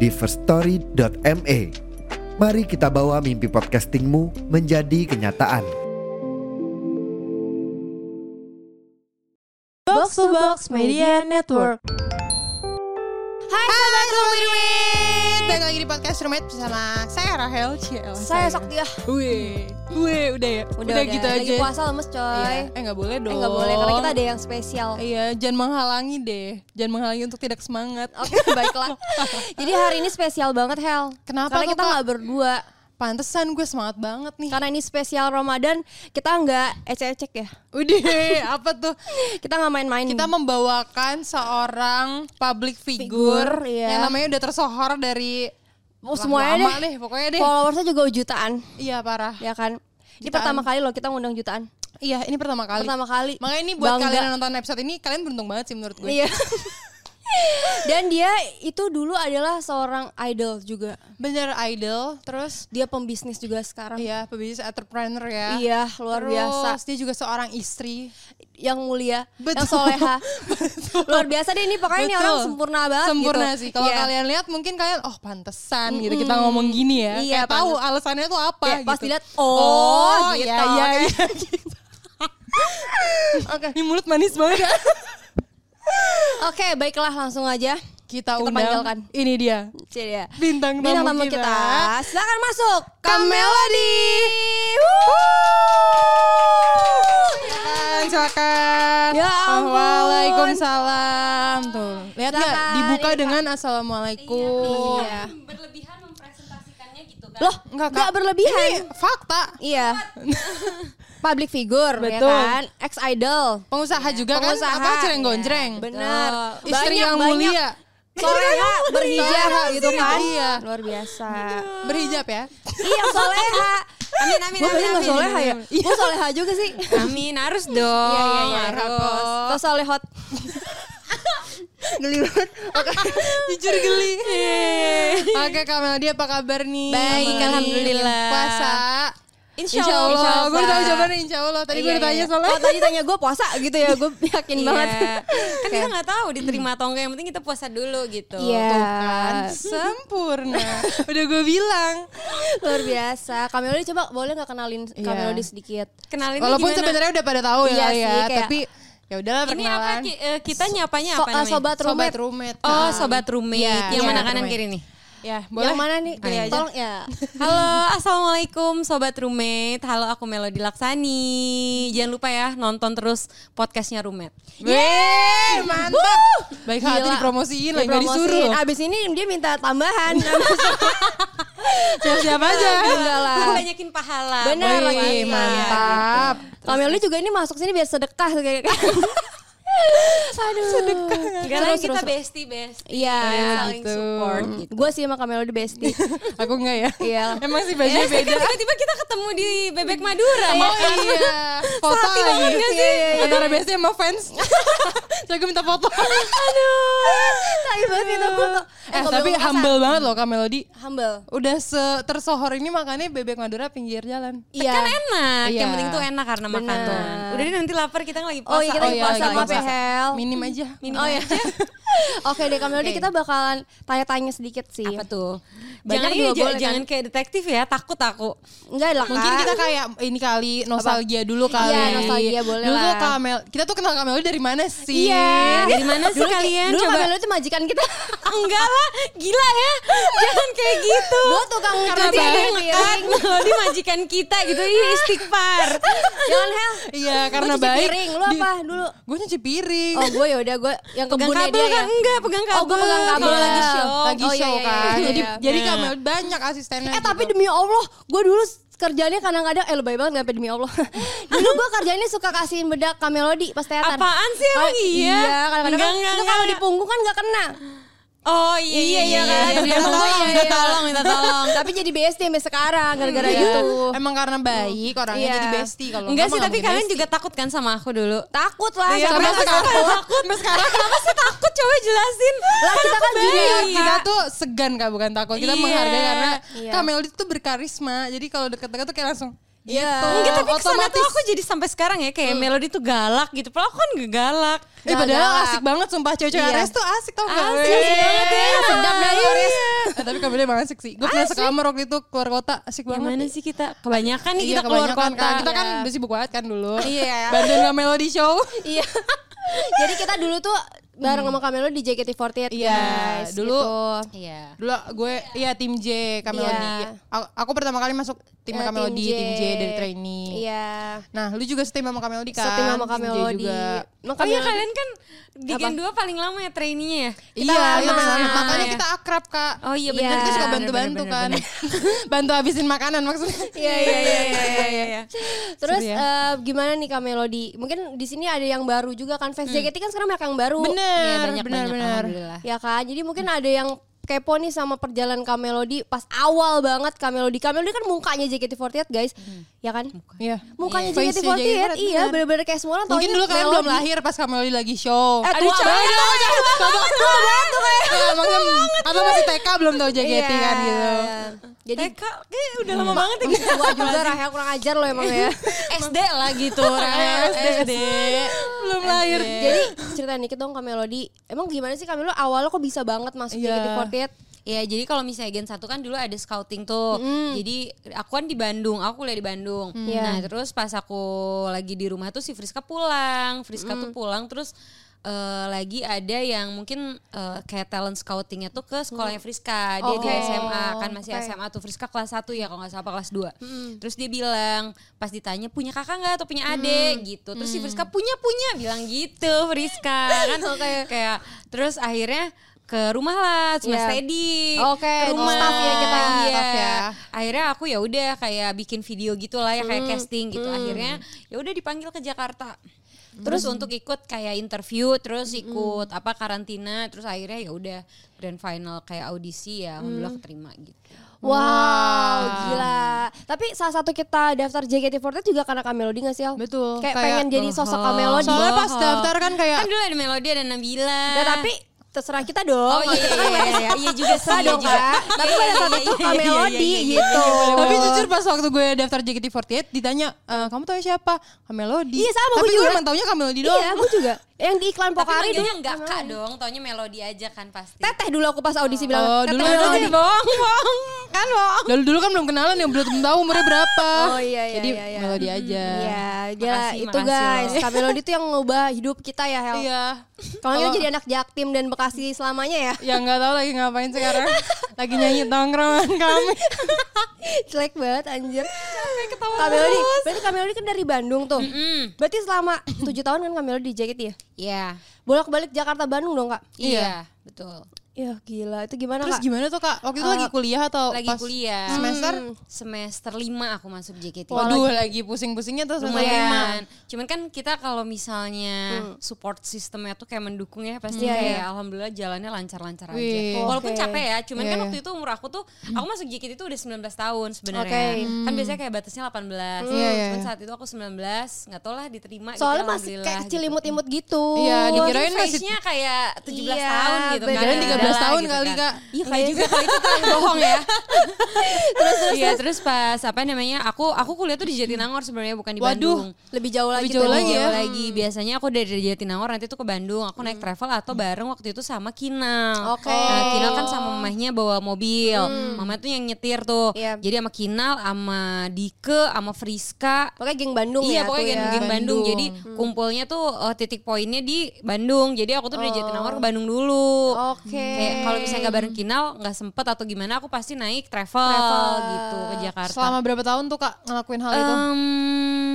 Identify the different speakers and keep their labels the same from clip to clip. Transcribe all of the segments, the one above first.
Speaker 1: di firststory.me. Mari kita bawa mimpi podcastingmu menjadi kenyataan.
Speaker 2: Box to Box Media Network.
Speaker 3: Hai sobat Rumitwit Balik lagi di podcast Rumit bersama saya Rahel CL
Speaker 4: Saya sok dia
Speaker 3: Wih Wih udah ya
Speaker 4: udah,
Speaker 3: gitu
Speaker 4: lagi
Speaker 3: aja
Speaker 4: puasa lemes coy.
Speaker 3: Iya. Eh gak boleh
Speaker 4: Eh
Speaker 3: dong
Speaker 4: nggak boleh karena kita ada yang spesial.
Speaker 3: Iya jangan menghalangi deh Jangan menghalangi untuk tidak semangat
Speaker 4: Oke baiklah. Jadi hari ini spesial banget Hel.
Speaker 3: Kenapa
Speaker 4: Karena
Speaker 3: tuh,
Speaker 4: kita
Speaker 3: Kak?
Speaker 4: nggak berdua.
Speaker 3: Pantesan gue semangat banget nih
Speaker 4: Karena ini spesial Ramadan kita nggak ecek-ecek ya.
Speaker 3: Udah apa tuh
Speaker 4: Kita nggak main-main.
Speaker 3: Kita membawakan seorang public figure,
Speaker 4: Figure, iya.
Speaker 3: Yang namanya udah tersohor dari
Speaker 4: Oh,
Speaker 3: Wah,
Speaker 4: semuanya
Speaker 3: lama
Speaker 4: deh.
Speaker 3: deh, pokoknya deh.
Speaker 4: Followersnya juga jutaan,
Speaker 3: Iya parah
Speaker 4: ya kan? Ini
Speaker 3: Jutaan.
Speaker 4: pertama kali loh kita ngundang jutaan.
Speaker 3: Iya ini pertama kali
Speaker 4: Pertama kali.
Speaker 3: Makanya ini buat
Speaker 4: Bangga.
Speaker 3: kalian yang nonton episode ini Kalian beruntung banget sih menurut gue
Speaker 4: Iya. Dan dia itu dulu adalah seorang idol juga.
Speaker 3: Bener idol Terus
Speaker 4: Dia pembisnis juga sekarang.
Speaker 3: Iya, pebisnis entrepreneur ya.
Speaker 4: Iya, luar
Speaker 3: Terus,
Speaker 4: biasa.
Speaker 3: Dia juga seorang istri.
Speaker 4: yang mulia,
Speaker 3: Betul.
Speaker 4: yang soleha. Luar biasa deh ini pokoknya ini
Speaker 3: Betul.
Speaker 4: orang sempurna banget
Speaker 3: Sempurna
Speaker 4: gitu.
Speaker 3: sih. Kalau
Speaker 4: Iya.
Speaker 3: kalian lihat mungkin kalian oh pantesan gitu kita ngomong gini ya.
Speaker 4: Iya,
Speaker 3: Kayak tahu alasannya tuh apa
Speaker 4: Iya,
Speaker 3: gitu.
Speaker 4: pas dilihat, oh, gitu.
Speaker 3: iya iya. iya, gitu. Oke, ini mulut manis banget. ya.
Speaker 4: Oke, baiklah langsung aja. Kita
Speaker 3: kita undang.
Speaker 4: panggilkan.
Speaker 3: Ini dia.
Speaker 4: Ciri ya.
Speaker 3: Bintang tamu
Speaker 4: Bintang tamu
Speaker 3: kita.
Speaker 4: kita. Silakan masuk.
Speaker 3: Kamelody.
Speaker 4: Kamelody.
Speaker 3: Silakan, Ya kan, silakan.
Speaker 4: Ya ampun.
Speaker 3: Waalaikumsalam. Tuh, lihat nggak?
Speaker 4: Silakan,
Speaker 3: Dibuka
Speaker 4: iya, Kak.
Speaker 3: dengan assalamualaikum.
Speaker 4: Iya.
Speaker 5: berlebihan mempresentasikannya gitu kan.
Speaker 4: Loh,
Speaker 3: Enggak,
Speaker 4: enggak,
Speaker 3: Kak.
Speaker 4: berlebihan.
Speaker 3: Ini fakta.
Speaker 4: Iya. Public figure, ya
Speaker 3: Betul.
Speaker 4: kan? Ex idol.
Speaker 3: Pengusaha juga
Speaker 4: Pengusaha,
Speaker 3: kan apa cereng
Speaker 4: iya.
Speaker 3: gonjreng.
Speaker 4: Benar.
Speaker 3: Istri yang
Speaker 4: Banyak-banyak.
Speaker 3: mulia.
Speaker 4: Soleha berhijab
Speaker 3: Soleha,
Speaker 4: gitu kan.
Speaker 3: iya.
Speaker 4: Luar biasa.
Speaker 3: Berhijab ya.
Speaker 4: iya, soleha. Amin amin
Speaker 3: Gua kayaknya nggak soleha ya?
Speaker 4: Gue soleha juga sih.
Speaker 5: Amin, harus dong.
Speaker 4: Iya iya iya. Terus solehot.
Speaker 3: geli banget. Jujur geli. Iya. Oke, Kak Melody apa kabar nih?
Speaker 4: Baik,
Speaker 3: Melody.
Speaker 4: alhamdulillah.
Speaker 3: Puasa.
Speaker 4: Insya
Speaker 3: Allah.
Speaker 4: Allah.
Speaker 3: Gue udah tahu jawabannya insya Allah. Tadi gue
Speaker 4: Iya,
Speaker 3: udah tanya
Speaker 4: iya.
Speaker 3: soalnya.
Speaker 4: Oh, tadi tanya gue puasa gitu ya, gue yakin banget.
Speaker 5: Iya.
Speaker 4: hmm.
Speaker 5: Kan kita nggak tahu diterima atau enggak, yang penting kita puasa dulu gitu.
Speaker 4: Iya.
Speaker 3: Kan sempurna. Udah gue bilang.
Speaker 4: Luar biasa. Kamelody coba boleh nggak kenalin
Speaker 3: Iya.
Speaker 4: Kamelody sedikit?
Speaker 5: Kenalin
Speaker 3: Walaupun
Speaker 5: gimana?
Speaker 3: sebenarnya udah pada tahu ya,
Speaker 4: Iya
Speaker 3: kali ya,
Speaker 4: sih, kayak-
Speaker 3: tapi ya udahlah
Speaker 5: ini apa
Speaker 3: perkenalan.
Speaker 5: Ki? Eh, kita nyapanya
Speaker 4: So-
Speaker 5: apa
Speaker 4: eh,
Speaker 5: namanya?
Speaker 4: sobat eh,
Speaker 3: Sobat
Speaker 4: Roommate.
Speaker 3: roommate.
Speaker 5: Oh, sobat roommate.
Speaker 3: Iya, iya,
Speaker 5: yang mana
Speaker 3: sobat
Speaker 5: kanan
Speaker 3: roommate.
Speaker 5: kiri nih?
Speaker 3: Ya, boleh.
Speaker 4: Yang mana nih?
Speaker 5: Ayo aja.
Speaker 4: Tolong ya.
Speaker 5: Halo, assalamualaikum sobat roommate. Halo, aku Melody Laksani. Jangan lupa ya nonton terus podcastnya roommate.
Speaker 3: Yeay, mantap. Baik hati
Speaker 4: Gila.
Speaker 3: dipromosiin lagi nggak
Speaker 4: Dipromosiin.
Speaker 3: disuruh.
Speaker 4: Abis ini dia minta tambahan. Abis-
Speaker 3: Siap-siap aja.
Speaker 4: Enggak lah.
Speaker 5: Aku banyakin pahala. Iya.
Speaker 4: Benar
Speaker 5: Boleh
Speaker 4: lagi.
Speaker 5: puasa.
Speaker 3: Mantap.
Speaker 4: Kamelody juga ini masuk sini biar sedekah kayak Aduh. Sedekah.
Speaker 5: Karena kita bestie bestie.
Speaker 4: Iya.
Speaker 5: saling support gitu.
Speaker 4: Gue sih sama Kamelody bestie.
Speaker 3: Aku enggak ya.
Speaker 4: Iya.
Speaker 3: Emang sih
Speaker 5: Eh,
Speaker 3: bajunya
Speaker 5: kan
Speaker 3: beda.
Speaker 5: tiba-tiba kita ketemu di Bebek Madura ya.
Speaker 3: Oh
Speaker 5: makan.
Speaker 3: iya. Foto
Speaker 5: Sehati
Speaker 3: lagi.
Speaker 5: banget nggak sih?
Speaker 3: Iya, iya, iya. Antara biasanya sama fans. Saya minta foto.
Speaker 4: Tai banget itu gue tuh.
Speaker 3: Eh,
Speaker 4: gua
Speaker 3: tapi
Speaker 4: belum puasa.
Speaker 3: humble banget loh Kak Melody.
Speaker 4: Humble.
Speaker 3: Udah se- tersohor ini makanya Bebek Madura pinggir jalan.
Speaker 4: Iya.
Speaker 5: Kan enak,
Speaker 3: Iya.
Speaker 5: yang penting tuh enak karena makanan.
Speaker 4: Benar.
Speaker 5: Udah deh nanti lapar kita lagi puasa.
Speaker 4: Oh iya kita
Speaker 3: Oh,
Speaker 4: lagi
Speaker 3: iya,
Speaker 4: puasa
Speaker 3: lagi
Speaker 4: sama
Speaker 3: puasa.
Speaker 4: PHL.
Speaker 3: Minim aja.
Speaker 4: oh iya. Oke deh Kamelody
Speaker 3: Oke.
Speaker 4: kita bakalan tanya-tanya sedikit sih.
Speaker 5: apa tuh?
Speaker 4: Banyak
Speaker 5: jangan
Speaker 4: juga
Speaker 5: ini, ja-
Speaker 4: boleh, kan?
Speaker 5: jangan kayak detektif ya, takut aku.
Speaker 4: Enggak lah
Speaker 3: Mungkin
Speaker 4: Kak.
Speaker 3: kita kayak ini kali nostalgia dulu kali.
Speaker 4: Kan? Iya, nostalgia boleh
Speaker 3: Dulu
Speaker 4: lah.
Speaker 3: Kak Mel, kita tuh kenal Kak Melody dari mana sih?
Speaker 4: Iya.
Speaker 5: Dari mana sih
Speaker 4: Dulu-
Speaker 5: kalian?
Speaker 4: Dulu
Speaker 5: Coba.
Speaker 4: Kamelody tuh majikan kita.
Speaker 5: Enggak lah, gila ya. jangan kayak gitu.
Speaker 4: Gue tukang
Speaker 5: Nanti
Speaker 4: ngungkapin
Speaker 5: ada yang
Speaker 4: feeling.
Speaker 5: ngekat melodi majikan kita gitu, ih istighfar.
Speaker 4: Jangan hel.
Speaker 3: Iya,
Speaker 4: Gua
Speaker 3: karena
Speaker 4: cuci
Speaker 3: baik.
Speaker 4: piring. Lu apa dulu?
Speaker 3: Gue nyuci piring.
Speaker 4: Oh gue yaudah gue yang
Speaker 5: Pegang
Speaker 4: kebunnya
Speaker 5: kabel
Speaker 4: dia
Speaker 5: Iya. kan?
Speaker 4: ya.
Speaker 5: Enggak, pegang kabel.
Speaker 4: Oh, gua pegang kabel.
Speaker 5: Kalau lagi show.
Speaker 3: lagi
Speaker 4: Oh, iya,
Speaker 3: show
Speaker 4: iya,
Speaker 3: kan.
Speaker 4: iya,
Speaker 3: Jadi
Speaker 4: iya.
Speaker 3: jadi Kak
Speaker 5: Nah.
Speaker 3: Mel banyak asistennya.
Speaker 4: Eh
Speaker 3: gitu.
Speaker 4: tapi demi Allah, gue dulu s- kerjanya kadang-kadang eh lebay banget gak sampai demi Allah. dulu gue kerjanya suka kasihin bedak kamelodi pas teater.
Speaker 5: Apaan sih emang
Speaker 4: Ah,
Speaker 5: iya?
Speaker 4: Iya, kadang-kadang
Speaker 5: Enggak,
Speaker 4: kan
Speaker 5: enggak,
Speaker 4: itu kalau di
Speaker 5: enggak.
Speaker 4: punggung kan gak kena.
Speaker 5: Oh iya iya iya,
Speaker 4: Iya,
Speaker 5: minta tolong,
Speaker 4: iya,
Speaker 5: minta
Speaker 4: iya.
Speaker 5: tolong, minta tolong.
Speaker 4: Tapi jadi besti sampai sekarang gara-gara
Speaker 3: Iya.
Speaker 4: itu.
Speaker 3: Emang karena baik orangnya
Speaker 4: ya. Iya.
Speaker 3: jadi bestie kalau
Speaker 5: Enggak
Speaker 3: mah
Speaker 5: sih,
Speaker 3: nggak
Speaker 5: tapi
Speaker 3: mungkin
Speaker 5: kalian
Speaker 3: bestie.
Speaker 5: juga takut kan sama aku dulu?
Speaker 4: Takut lah,
Speaker 3: Iya,
Speaker 4: sama
Speaker 3: sampai
Speaker 4: aku
Speaker 3: sekarang
Speaker 4: takut.
Speaker 3: takut. Sampai sekarang
Speaker 5: Kenapa sih takut? Coba jelasin.
Speaker 4: Lah kita kan junior.
Speaker 3: Junior Iya, kita tuh segan kak bukan takut kita
Speaker 5: Iya.
Speaker 3: menghargai karena
Speaker 4: Iya.
Speaker 3: Kak Melody tuh berkarisma jadi kalau deket-deket tuh kayak langsung
Speaker 4: Iya.
Speaker 3: gitu
Speaker 5: Enggak, tapi kesana
Speaker 3: otomatis
Speaker 5: tuh aku jadi sampai sekarang ya kayak Melody tuh galak gitu. Padahal aku kan gak galak.
Speaker 3: eh padahal
Speaker 4: galak.
Speaker 3: asik banget sumpah cewek-cewek
Speaker 4: Iya.
Speaker 3: Aries tuh asik tau gak
Speaker 5: Asik Iya. banget ya.
Speaker 4: Sedap dah lu, Aries.
Speaker 3: Eh, tapi Kak Melody emang asik sih gue pernah sekamar waktu itu keluar kota asik banget
Speaker 5: Gimana sih kita? Kebanyakan nih
Speaker 3: Iya,
Speaker 5: kita keluar
Speaker 3: kebanyakan,
Speaker 5: kota.
Speaker 3: Kak. Kita kan
Speaker 4: Iya.
Speaker 3: udah sibuk banget kan dulu.
Speaker 5: Iya.
Speaker 3: Bandung Kak Melody Show.
Speaker 4: Iya. Jadi kita dulu tuh bareng sama Kamelo di JKT48
Speaker 3: Hmm. Iya,
Speaker 4: guys.
Speaker 3: dulu
Speaker 4: gitu.
Speaker 5: Iya.
Speaker 3: Dulu gue iya tim J Kak Melody.
Speaker 4: Iya.
Speaker 3: Aku, aku pertama kali masuk tim
Speaker 4: Ya,
Speaker 3: Kak Melody, tim J dari trainee.
Speaker 4: Iya.
Speaker 3: Nah, lu juga setim sama Kak Melody kan?
Speaker 4: Setim sama
Speaker 3: Tim J
Speaker 4: Kamelody.
Speaker 3: juga.
Speaker 5: Oh iya kalian kan di Gen 2 paling lama ya trainee ya?
Speaker 3: Iya, iya
Speaker 5: lama.
Speaker 3: benar. Makanya
Speaker 5: Iya.
Speaker 3: kita akrab, Kak.
Speaker 5: Oh iya
Speaker 4: Iya.
Speaker 5: benar
Speaker 3: Kita suka
Speaker 4: bener,
Speaker 3: bantu-bantu kan. Bantu habisin makanan maksudnya.
Speaker 4: Iya iya iya.
Speaker 5: Iya iya iya iya.
Speaker 4: Terus
Speaker 3: Seru
Speaker 4: eh,
Speaker 3: ya.
Speaker 4: gimana nih Kak Melody? Mungkin di sini ada yang baru juga kan. Fans JKT kan sekarang banyak yang baru.
Speaker 5: Iya,
Speaker 3: Hmm. Bener, Hmm.
Speaker 5: banyak
Speaker 3: bener,
Speaker 5: banyak
Speaker 3: bener.
Speaker 5: alhamdulillah.
Speaker 4: Ya kan? Jadi mungkin ada yang kepo nih sama perjalanan Kak Melody pas awal banget Kak Melody. Kak Melody kan mukanya JKT48 guys. Ya kan?
Speaker 3: Iya.
Speaker 4: Mukanya
Speaker 3: Face-nya
Speaker 4: JKT48.
Speaker 3: JKT48,
Speaker 4: iya,
Speaker 3: bener.
Speaker 4: bener-bener kayak semua orang taunya
Speaker 3: kan? Mungkin dulu kalian belum
Speaker 4: Melody.
Speaker 3: lahir pas Kak Melody lagi show. Kan
Speaker 4: Eh, tua banget.
Speaker 3: Iya, makanya atau masih TK belum tahu
Speaker 4: Iya.
Speaker 3: JKT kan gitu.
Speaker 4: Jadi
Speaker 5: TK kayak Eh, udah lama banget ya kita.
Speaker 4: tua juga Rahel kurang ajar lo emang ya.
Speaker 5: SD lah gitu Rahel SD.
Speaker 3: Belum lahir.
Speaker 4: Jadi ceritain dikit dong Kak Melody. Emang gimana sih Kak Melody awalnya kok bisa banget masuk
Speaker 3: Iya.
Speaker 4: JKT48?
Speaker 5: Ya jadi kalau misalnya Gen 1 kan dulu ada scouting tuh. Jadi aku kan di Bandung, aku kuliah di Bandung.
Speaker 4: Iya.
Speaker 5: Nah, terus pas aku lagi di rumah tuh si Friska pulang. Friska tuh
Speaker 4: Mm.
Speaker 5: pulang terus eh, lagi ada yang mungkin eh, kayak talent scoutingnya tuh ke sekolahnya Friska. Dia di
Speaker 4: Oke.
Speaker 5: SMA kan masih
Speaker 4: Mm. Oh, Oke.
Speaker 5: SMA tuh Friska kelas 1 ya kalau nggak salah apa kelas 2. Terus dia bilang pas ditanya punya kakak nggak atau
Speaker 4: Mm.
Speaker 5: punya adik gitu. Terus si Friska punya punya bilang gitu Friska kan kayak terus akhirnya ke rumah lah sama
Speaker 4: Iya.
Speaker 5: Steady.
Speaker 4: Oke,
Speaker 5: ke
Speaker 4: di
Speaker 5: rumah
Speaker 4: staff ya kita,
Speaker 5: Iya.
Speaker 3: staff ya.
Speaker 5: Akhirnya aku ya udah kayak bikin video gitulah ya
Speaker 4: Hmm,
Speaker 5: kayak casting gitu. Akhirnya ya udah dipanggil ke Jakarta.
Speaker 4: Hmm.
Speaker 5: Terus untuk ikut kayak interview, terus ikut apa karantina, terus akhirnya ya udah grand final kayak audisi ya,
Speaker 4: Hmm.
Speaker 5: alhamdulillah keterima gitu.
Speaker 4: Wow, gila. Tapi salah satu kita daftar JKT48 juga karena Kak Melody gak sih Al?
Speaker 3: Betul.
Speaker 4: Kayak,
Speaker 3: Kayak-
Speaker 4: pengen jadi sosok Kak Melody.
Speaker 3: Soalnya pas daftar kan kayak
Speaker 5: Kan dulu ada Melody ada Nabila.
Speaker 4: Ya, tapi terserah kita dong.
Speaker 5: oh iya iya iya, iya, iya juga sih,
Speaker 4: Terserah
Speaker 5: iya
Speaker 4: dong
Speaker 5: juga.
Speaker 4: Kak. Tapi pada saat itu Kak
Speaker 5: Iya, iya, iya,
Speaker 4: Melody
Speaker 5: iya, iya,
Speaker 4: gitu.
Speaker 3: Tapi jujur pas waktu gue daftar JKT48 ditanya "Eh, kamu tahu siapa? Kamelody.
Speaker 4: Iya, sama,
Speaker 3: Tapi
Speaker 4: gue juga.
Speaker 3: emang taunya Kamelody doang.
Speaker 4: Iya, aku juga. Yang di iklan
Speaker 5: Tapi
Speaker 4: Pokari dulu.
Speaker 5: manggilnya enggak kak dong, taunya Melody aja kan pasti.
Speaker 4: Teteh dulu aku pas audisi bilang.
Speaker 3: Oh,
Speaker 4: "Teteh
Speaker 3: dulu
Speaker 4: Melody."
Speaker 3: Melody.
Speaker 5: bohong, bohong. Kan bohong.
Speaker 3: Lalu dulu kan belum kenalan yang belum tahu umurnya berapa.
Speaker 4: Oh iya iya
Speaker 3: Jadi
Speaker 4: iya. iya.
Speaker 3: Melody aja.
Speaker 4: Iya, gila
Speaker 5: Makasih,
Speaker 4: itu
Speaker 5: makasih
Speaker 4: guys.
Speaker 5: loh.
Speaker 4: Kak Melody itu yang ngubah hidup kita ya, Hel.
Speaker 3: Iya.
Speaker 4: Kalau kita jadi anak Jaktim dan Bekasi selamanya ya.
Speaker 3: Ya nggak tahu lagi ngapain sekarang. lagi nyanyi tongkrongan kami.
Speaker 4: Jelek banget anjir. Kak Melody, berarti Kak Melody kan dari Bandung tuh. Berarti selama 7 tahun kan Kak Melody di JKT ya?
Speaker 5: Iya.
Speaker 4: Bolak-balik Jakarta Bandung dong, Kak.
Speaker 5: Iya, betul.
Speaker 4: Ya gila, itu gimana,
Speaker 3: Terus
Speaker 4: Kak?
Speaker 3: gimana tuh kak? Waktu itu lagi
Speaker 4: Eh,
Speaker 3: kuliah atau
Speaker 5: Lagi
Speaker 3: Oh, pas
Speaker 5: kuliah. Hmm.
Speaker 3: Semester?
Speaker 4: Hmm.
Speaker 5: Semester 5 aku masuk JKT.
Speaker 3: Waduh lagi pusing-pusingnya terus
Speaker 5: Lumayan. Cuman kan kita kalau misalnya
Speaker 3: Hmm.
Speaker 5: support sistemnya tuh kayak mendukung ya
Speaker 4: Iya,
Speaker 5: pasti kayak
Speaker 4: iya.
Speaker 5: alhamdulillah jalannya lancar-lancar aja.
Speaker 3: Wih.
Speaker 5: Walaupun
Speaker 4: Oke.
Speaker 5: capek ya, cuman
Speaker 3: Iya,
Speaker 5: kan
Speaker 3: iya.
Speaker 5: waktu itu umur aku tuh aku masuk JKT itu udah 19 tahun sebenarnya.
Speaker 4: Oke.
Speaker 5: Kan biasanya kayak batasnya 18.
Speaker 3: Hmm. Iya, iya,
Speaker 5: Cuman
Speaker 3: iya.
Speaker 5: saat itu aku 19, nggak tau lah diterima gitu,
Speaker 4: Soalnya masih
Speaker 5: alhamdulillah
Speaker 4: kayak
Speaker 5: gitu. Ya
Speaker 4: kecil imut-imut gitu.
Speaker 3: Iya, dikira-
Speaker 5: Kirain
Speaker 3: Kirain masih-
Speaker 5: face-nya kayak 17
Speaker 4: Iya,
Speaker 5: tahun gitu
Speaker 4: bener.
Speaker 5: kan.
Speaker 3: Kalian 13
Speaker 5: Udah
Speaker 3: tahun
Speaker 5: gitu
Speaker 3: kali
Speaker 5: kan.
Speaker 3: kak.
Speaker 4: Iya,
Speaker 5: Enggak
Speaker 4: kayak
Speaker 5: juga kalau itu terlalu bohong ya. terus terus Iya, terus pas apa namanya? Aku aku kuliah tuh di Jatinangor sebenarnya bukan di Bandung.
Speaker 3: Waduh.
Speaker 4: lebih jauh lagi.
Speaker 3: Lebih jauh
Speaker 4: tuh.
Speaker 3: lagi ya.
Speaker 5: Jauh lagi biasanya aku dari Jatinangor nanti tuh ke Bandung aku naik travel atau bareng waktu itu sama Kinal.
Speaker 4: Oke.
Speaker 5: Nah, Kinal kan sama mamahnya bawa mobil. Mama tuh yang nyetir tuh.
Speaker 4: Iya.
Speaker 5: Jadi sama Kinal, sama Dike, sama Friska,
Speaker 4: Pokoknya geng Bandung
Speaker 5: iya,
Speaker 4: ya.
Speaker 5: pokoknya
Speaker 4: tuh
Speaker 5: geng
Speaker 4: ya.
Speaker 5: geng Bandung.
Speaker 3: Bandung.
Speaker 5: Jadi kumpulnya tuh eh, titik poinnya di Bandung. Jadi aku tuh dari Jatinangor ke Bandung dulu.
Speaker 4: Oh. Oke.
Speaker 5: Kayak kalau misalnya nggak bareng Kinal, nggak sempet atau gimana, aku pasti naik travel,
Speaker 4: Travel.
Speaker 5: gitu ke Jakarta. Eh,
Speaker 3: Selama berapa tahun tuh kak ngelakuin hal itu?
Speaker 5: Em,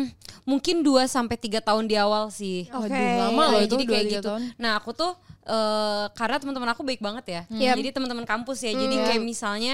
Speaker 5: mungkin 2 sampai tiga tahun di awal sih.
Speaker 4: Oke.
Speaker 3: Waduh, lama
Speaker 5: Iya,
Speaker 3: loh itu
Speaker 5: jadi kayak
Speaker 3: 2-3
Speaker 5: gitu.
Speaker 3: tahun.
Speaker 5: Nah aku tuh eh, karena teman-teman aku baik banget ya.
Speaker 4: Hmm. Yap.
Speaker 5: Jadi teman-teman kampus ya. Jadi kayak misalnya